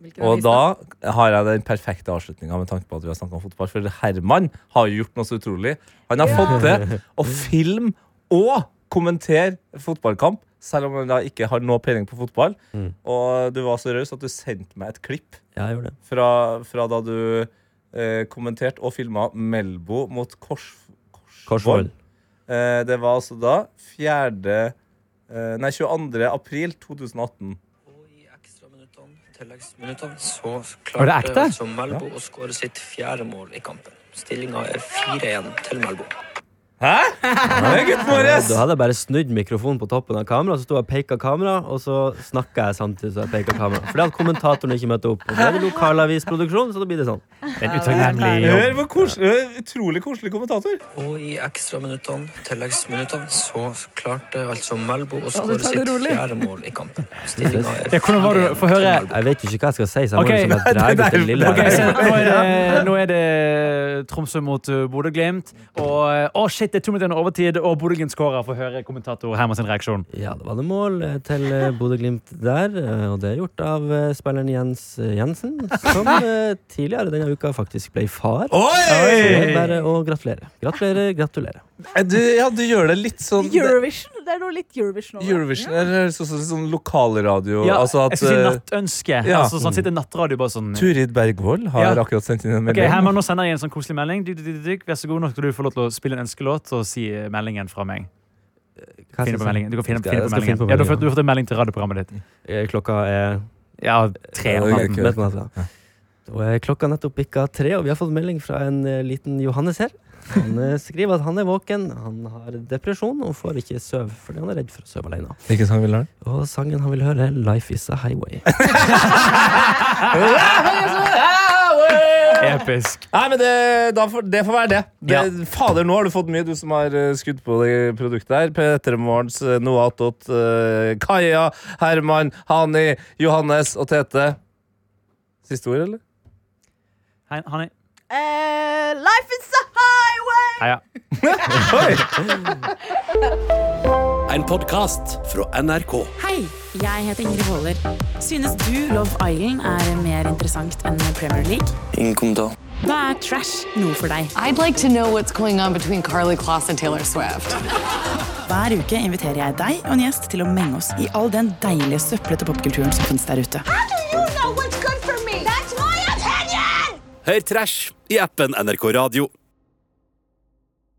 Speaker 5: Hvilken
Speaker 2: Og
Speaker 5: avis
Speaker 2: da har jeg den perfekte avslutninga med tanke på at vi har snakka om fotball. For Herman har jo gjort noe så utrolig. Han har fått til å filme og kommentere fotballkamp, selv om han da ikke har noe peiling på fotball. Og du var så raus at du sendte meg et klipp
Speaker 4: Eh, Ja, jeg gjorde det.
Speaker 2: fra, fra da du eh, kommenterte og filma Melbo mot Kors,
Speaker 4: Korsvoll.
Speaker 2: Eh, det var altså da 4. Eh, nei, 22. april 2018.
Speaker 9: I ekstraminuttene, tilleggsminuttene, så
Speaker 6: Var det ekte?
Speaker 9: klarte altså Melbo å skåre sitt fjerde mål i kampen. Stillinga er 4-1 til Melbo.
Speaker 2: Hæ?! Det er gutten vår!
Speaker 4: Da hadde jeg bare snudd mikrofonen på toppen av kameraet, så sto jeg og peka kamera, og så snakka jeg samtidig som jeg peka kamera. Fordi at kommentatoren ikke møtte opp. Og det er det lokalavisproduksjon, så da blir det sånn.
Speaker 6: Det er en utakknemlig jobb.
Speaker 2: Hør hvor koselig, hør, utrolig koselig kommentator.
Speaker 9: Og i ekstraminuttene, tilleggsminuttene, så klarte altså Melbo å
Speaker 5: du
Speaker 9: skåre
Speaker 5: tar det
Speaker 9: sitt
Speaker 5: rolig.
Speaker 9: fjerde mål i kampen. Stillinga er
Speaker 6: Ja, hvordan var det?
Speaker 9: 4-1
Speaker 6: Få høre.
Speaker 9: til Melbo.
Speaker 4: Jeg vet jo ikke hva jeg skal si, så jeg
Speaker 6: Ok.
Speaker 4: må
Speaker 6: [LAUGHS]
Speaker 4: liksom bare dra ut det lille.
Speaker 6: Ok, så nå er det, nå er det Tromsø mot uh, Bodø-Glimt. Og eh, å shit, det er to minutter under overtid, og Bodø-Glimt skårer. Få høre kommentator Herman sin reaksjon.
Speaker 4: Ja, det var det mål eh, til eh, Bodø-Glimt der, eh, og det er gjort av eh, spilleren Jens eh, Jensen, som eh, tidligere denne uka faktisk ble far. Så det er bare å gratulere. Gratulere, gratulere.
Speaker 2: eh, Du, ja, du gjør det litt sånn
Speaker 7: Eurovision? Det er noe litt Eurovision over det.
Speaker 2: Eurovision eller høres ut som sånn lokalradio.
Speaker 6: Ja,
Speaker 2: altså at
Speaker 6: jeg skulle si
Speaker 2: eh,
Speaker 6: nattønske.
Speaker 2: ja.
Speaker 6: Altså, sånn sitter nattradio bare sånn
Speaker 2: Turid Bergvold har
Speaker 6: Ja.
Speaker 2: akkurat sendt inn en
Speaker 6: Ok,
Speaker 2: melding.
Speaker 6: Herman, nå sender jeg en sånn koselig melding. Dyk, dyk, dyk, dyk. Vær så god, nå skal du få lov til å spille en ønskelåt og si eh, meldingen fra meg.
Speaker 4: Hva
Speaker 6: Finne på
Speaker 4: jeg
Speaker 6: meldingen. Du kan finne,
Speaker 4: Skal- jeg
Speaker 6: finne på
Speaker 4: skal finne på
Speaker 6: meldingen. Ja, du har
Speaker 4: meldingen.
Speaker 6: fått- du har fått en melding til radioprogrammet ditt.
Speaker 4: Eh, Klokka er
Speaker 6: Ja, tre om
Speaker 2: Ja,
Speaker 6: natten.
Speaker 2: ok.
Speaker 4: midt på natta. Og eh, klokka nettopp bikka tre, og vi har fått melding fra en eh, liten Johannes her. Han eh, skriver at han er våken, han har depresjon og får ikke sove fordi han er redd for å sove alene.
Speaker 2: Hvilken sang vil du ha?
Speaker 4: Og sangen han vil høre, er 'Life Is A Highway'.
Speaker 6: Episk.
Speaker 2: Nei, men det, da får, det får være det. det
Speaker 6: Ja.
Speaker 2: Fader, nå har du fått mye, du som har eh, skutt på det produktet her. Petter Morgens, eh, Noah Attot, eh, Kaja, Herman, Hani, Johannes og Tete. Siste ord, eller?
Speaker 6: Hei, Hanni.
Speaker 7: Eh, life is a highway!
Speaker 6: Heia.
Speaker 1: En podcast fra NRK.
Speaker 10: Hei, jeg heter Ingrid Waaler. Synes du Love Island er mer interessant enn Premier League?
Speaker 9: Ingen kommentar.
Speaker 10: Da er trash noe for deg.
Speaker 11: I'd like to know what's going on between Carly Kloss and Taylor Swift.
Speaker 10: Hver uke inviterer jeg deg og en gjest til å menge oss i all den deilige søplete popkulturen som finnes der ute.
Speaker 1: Hør trash i appen NRK Radio.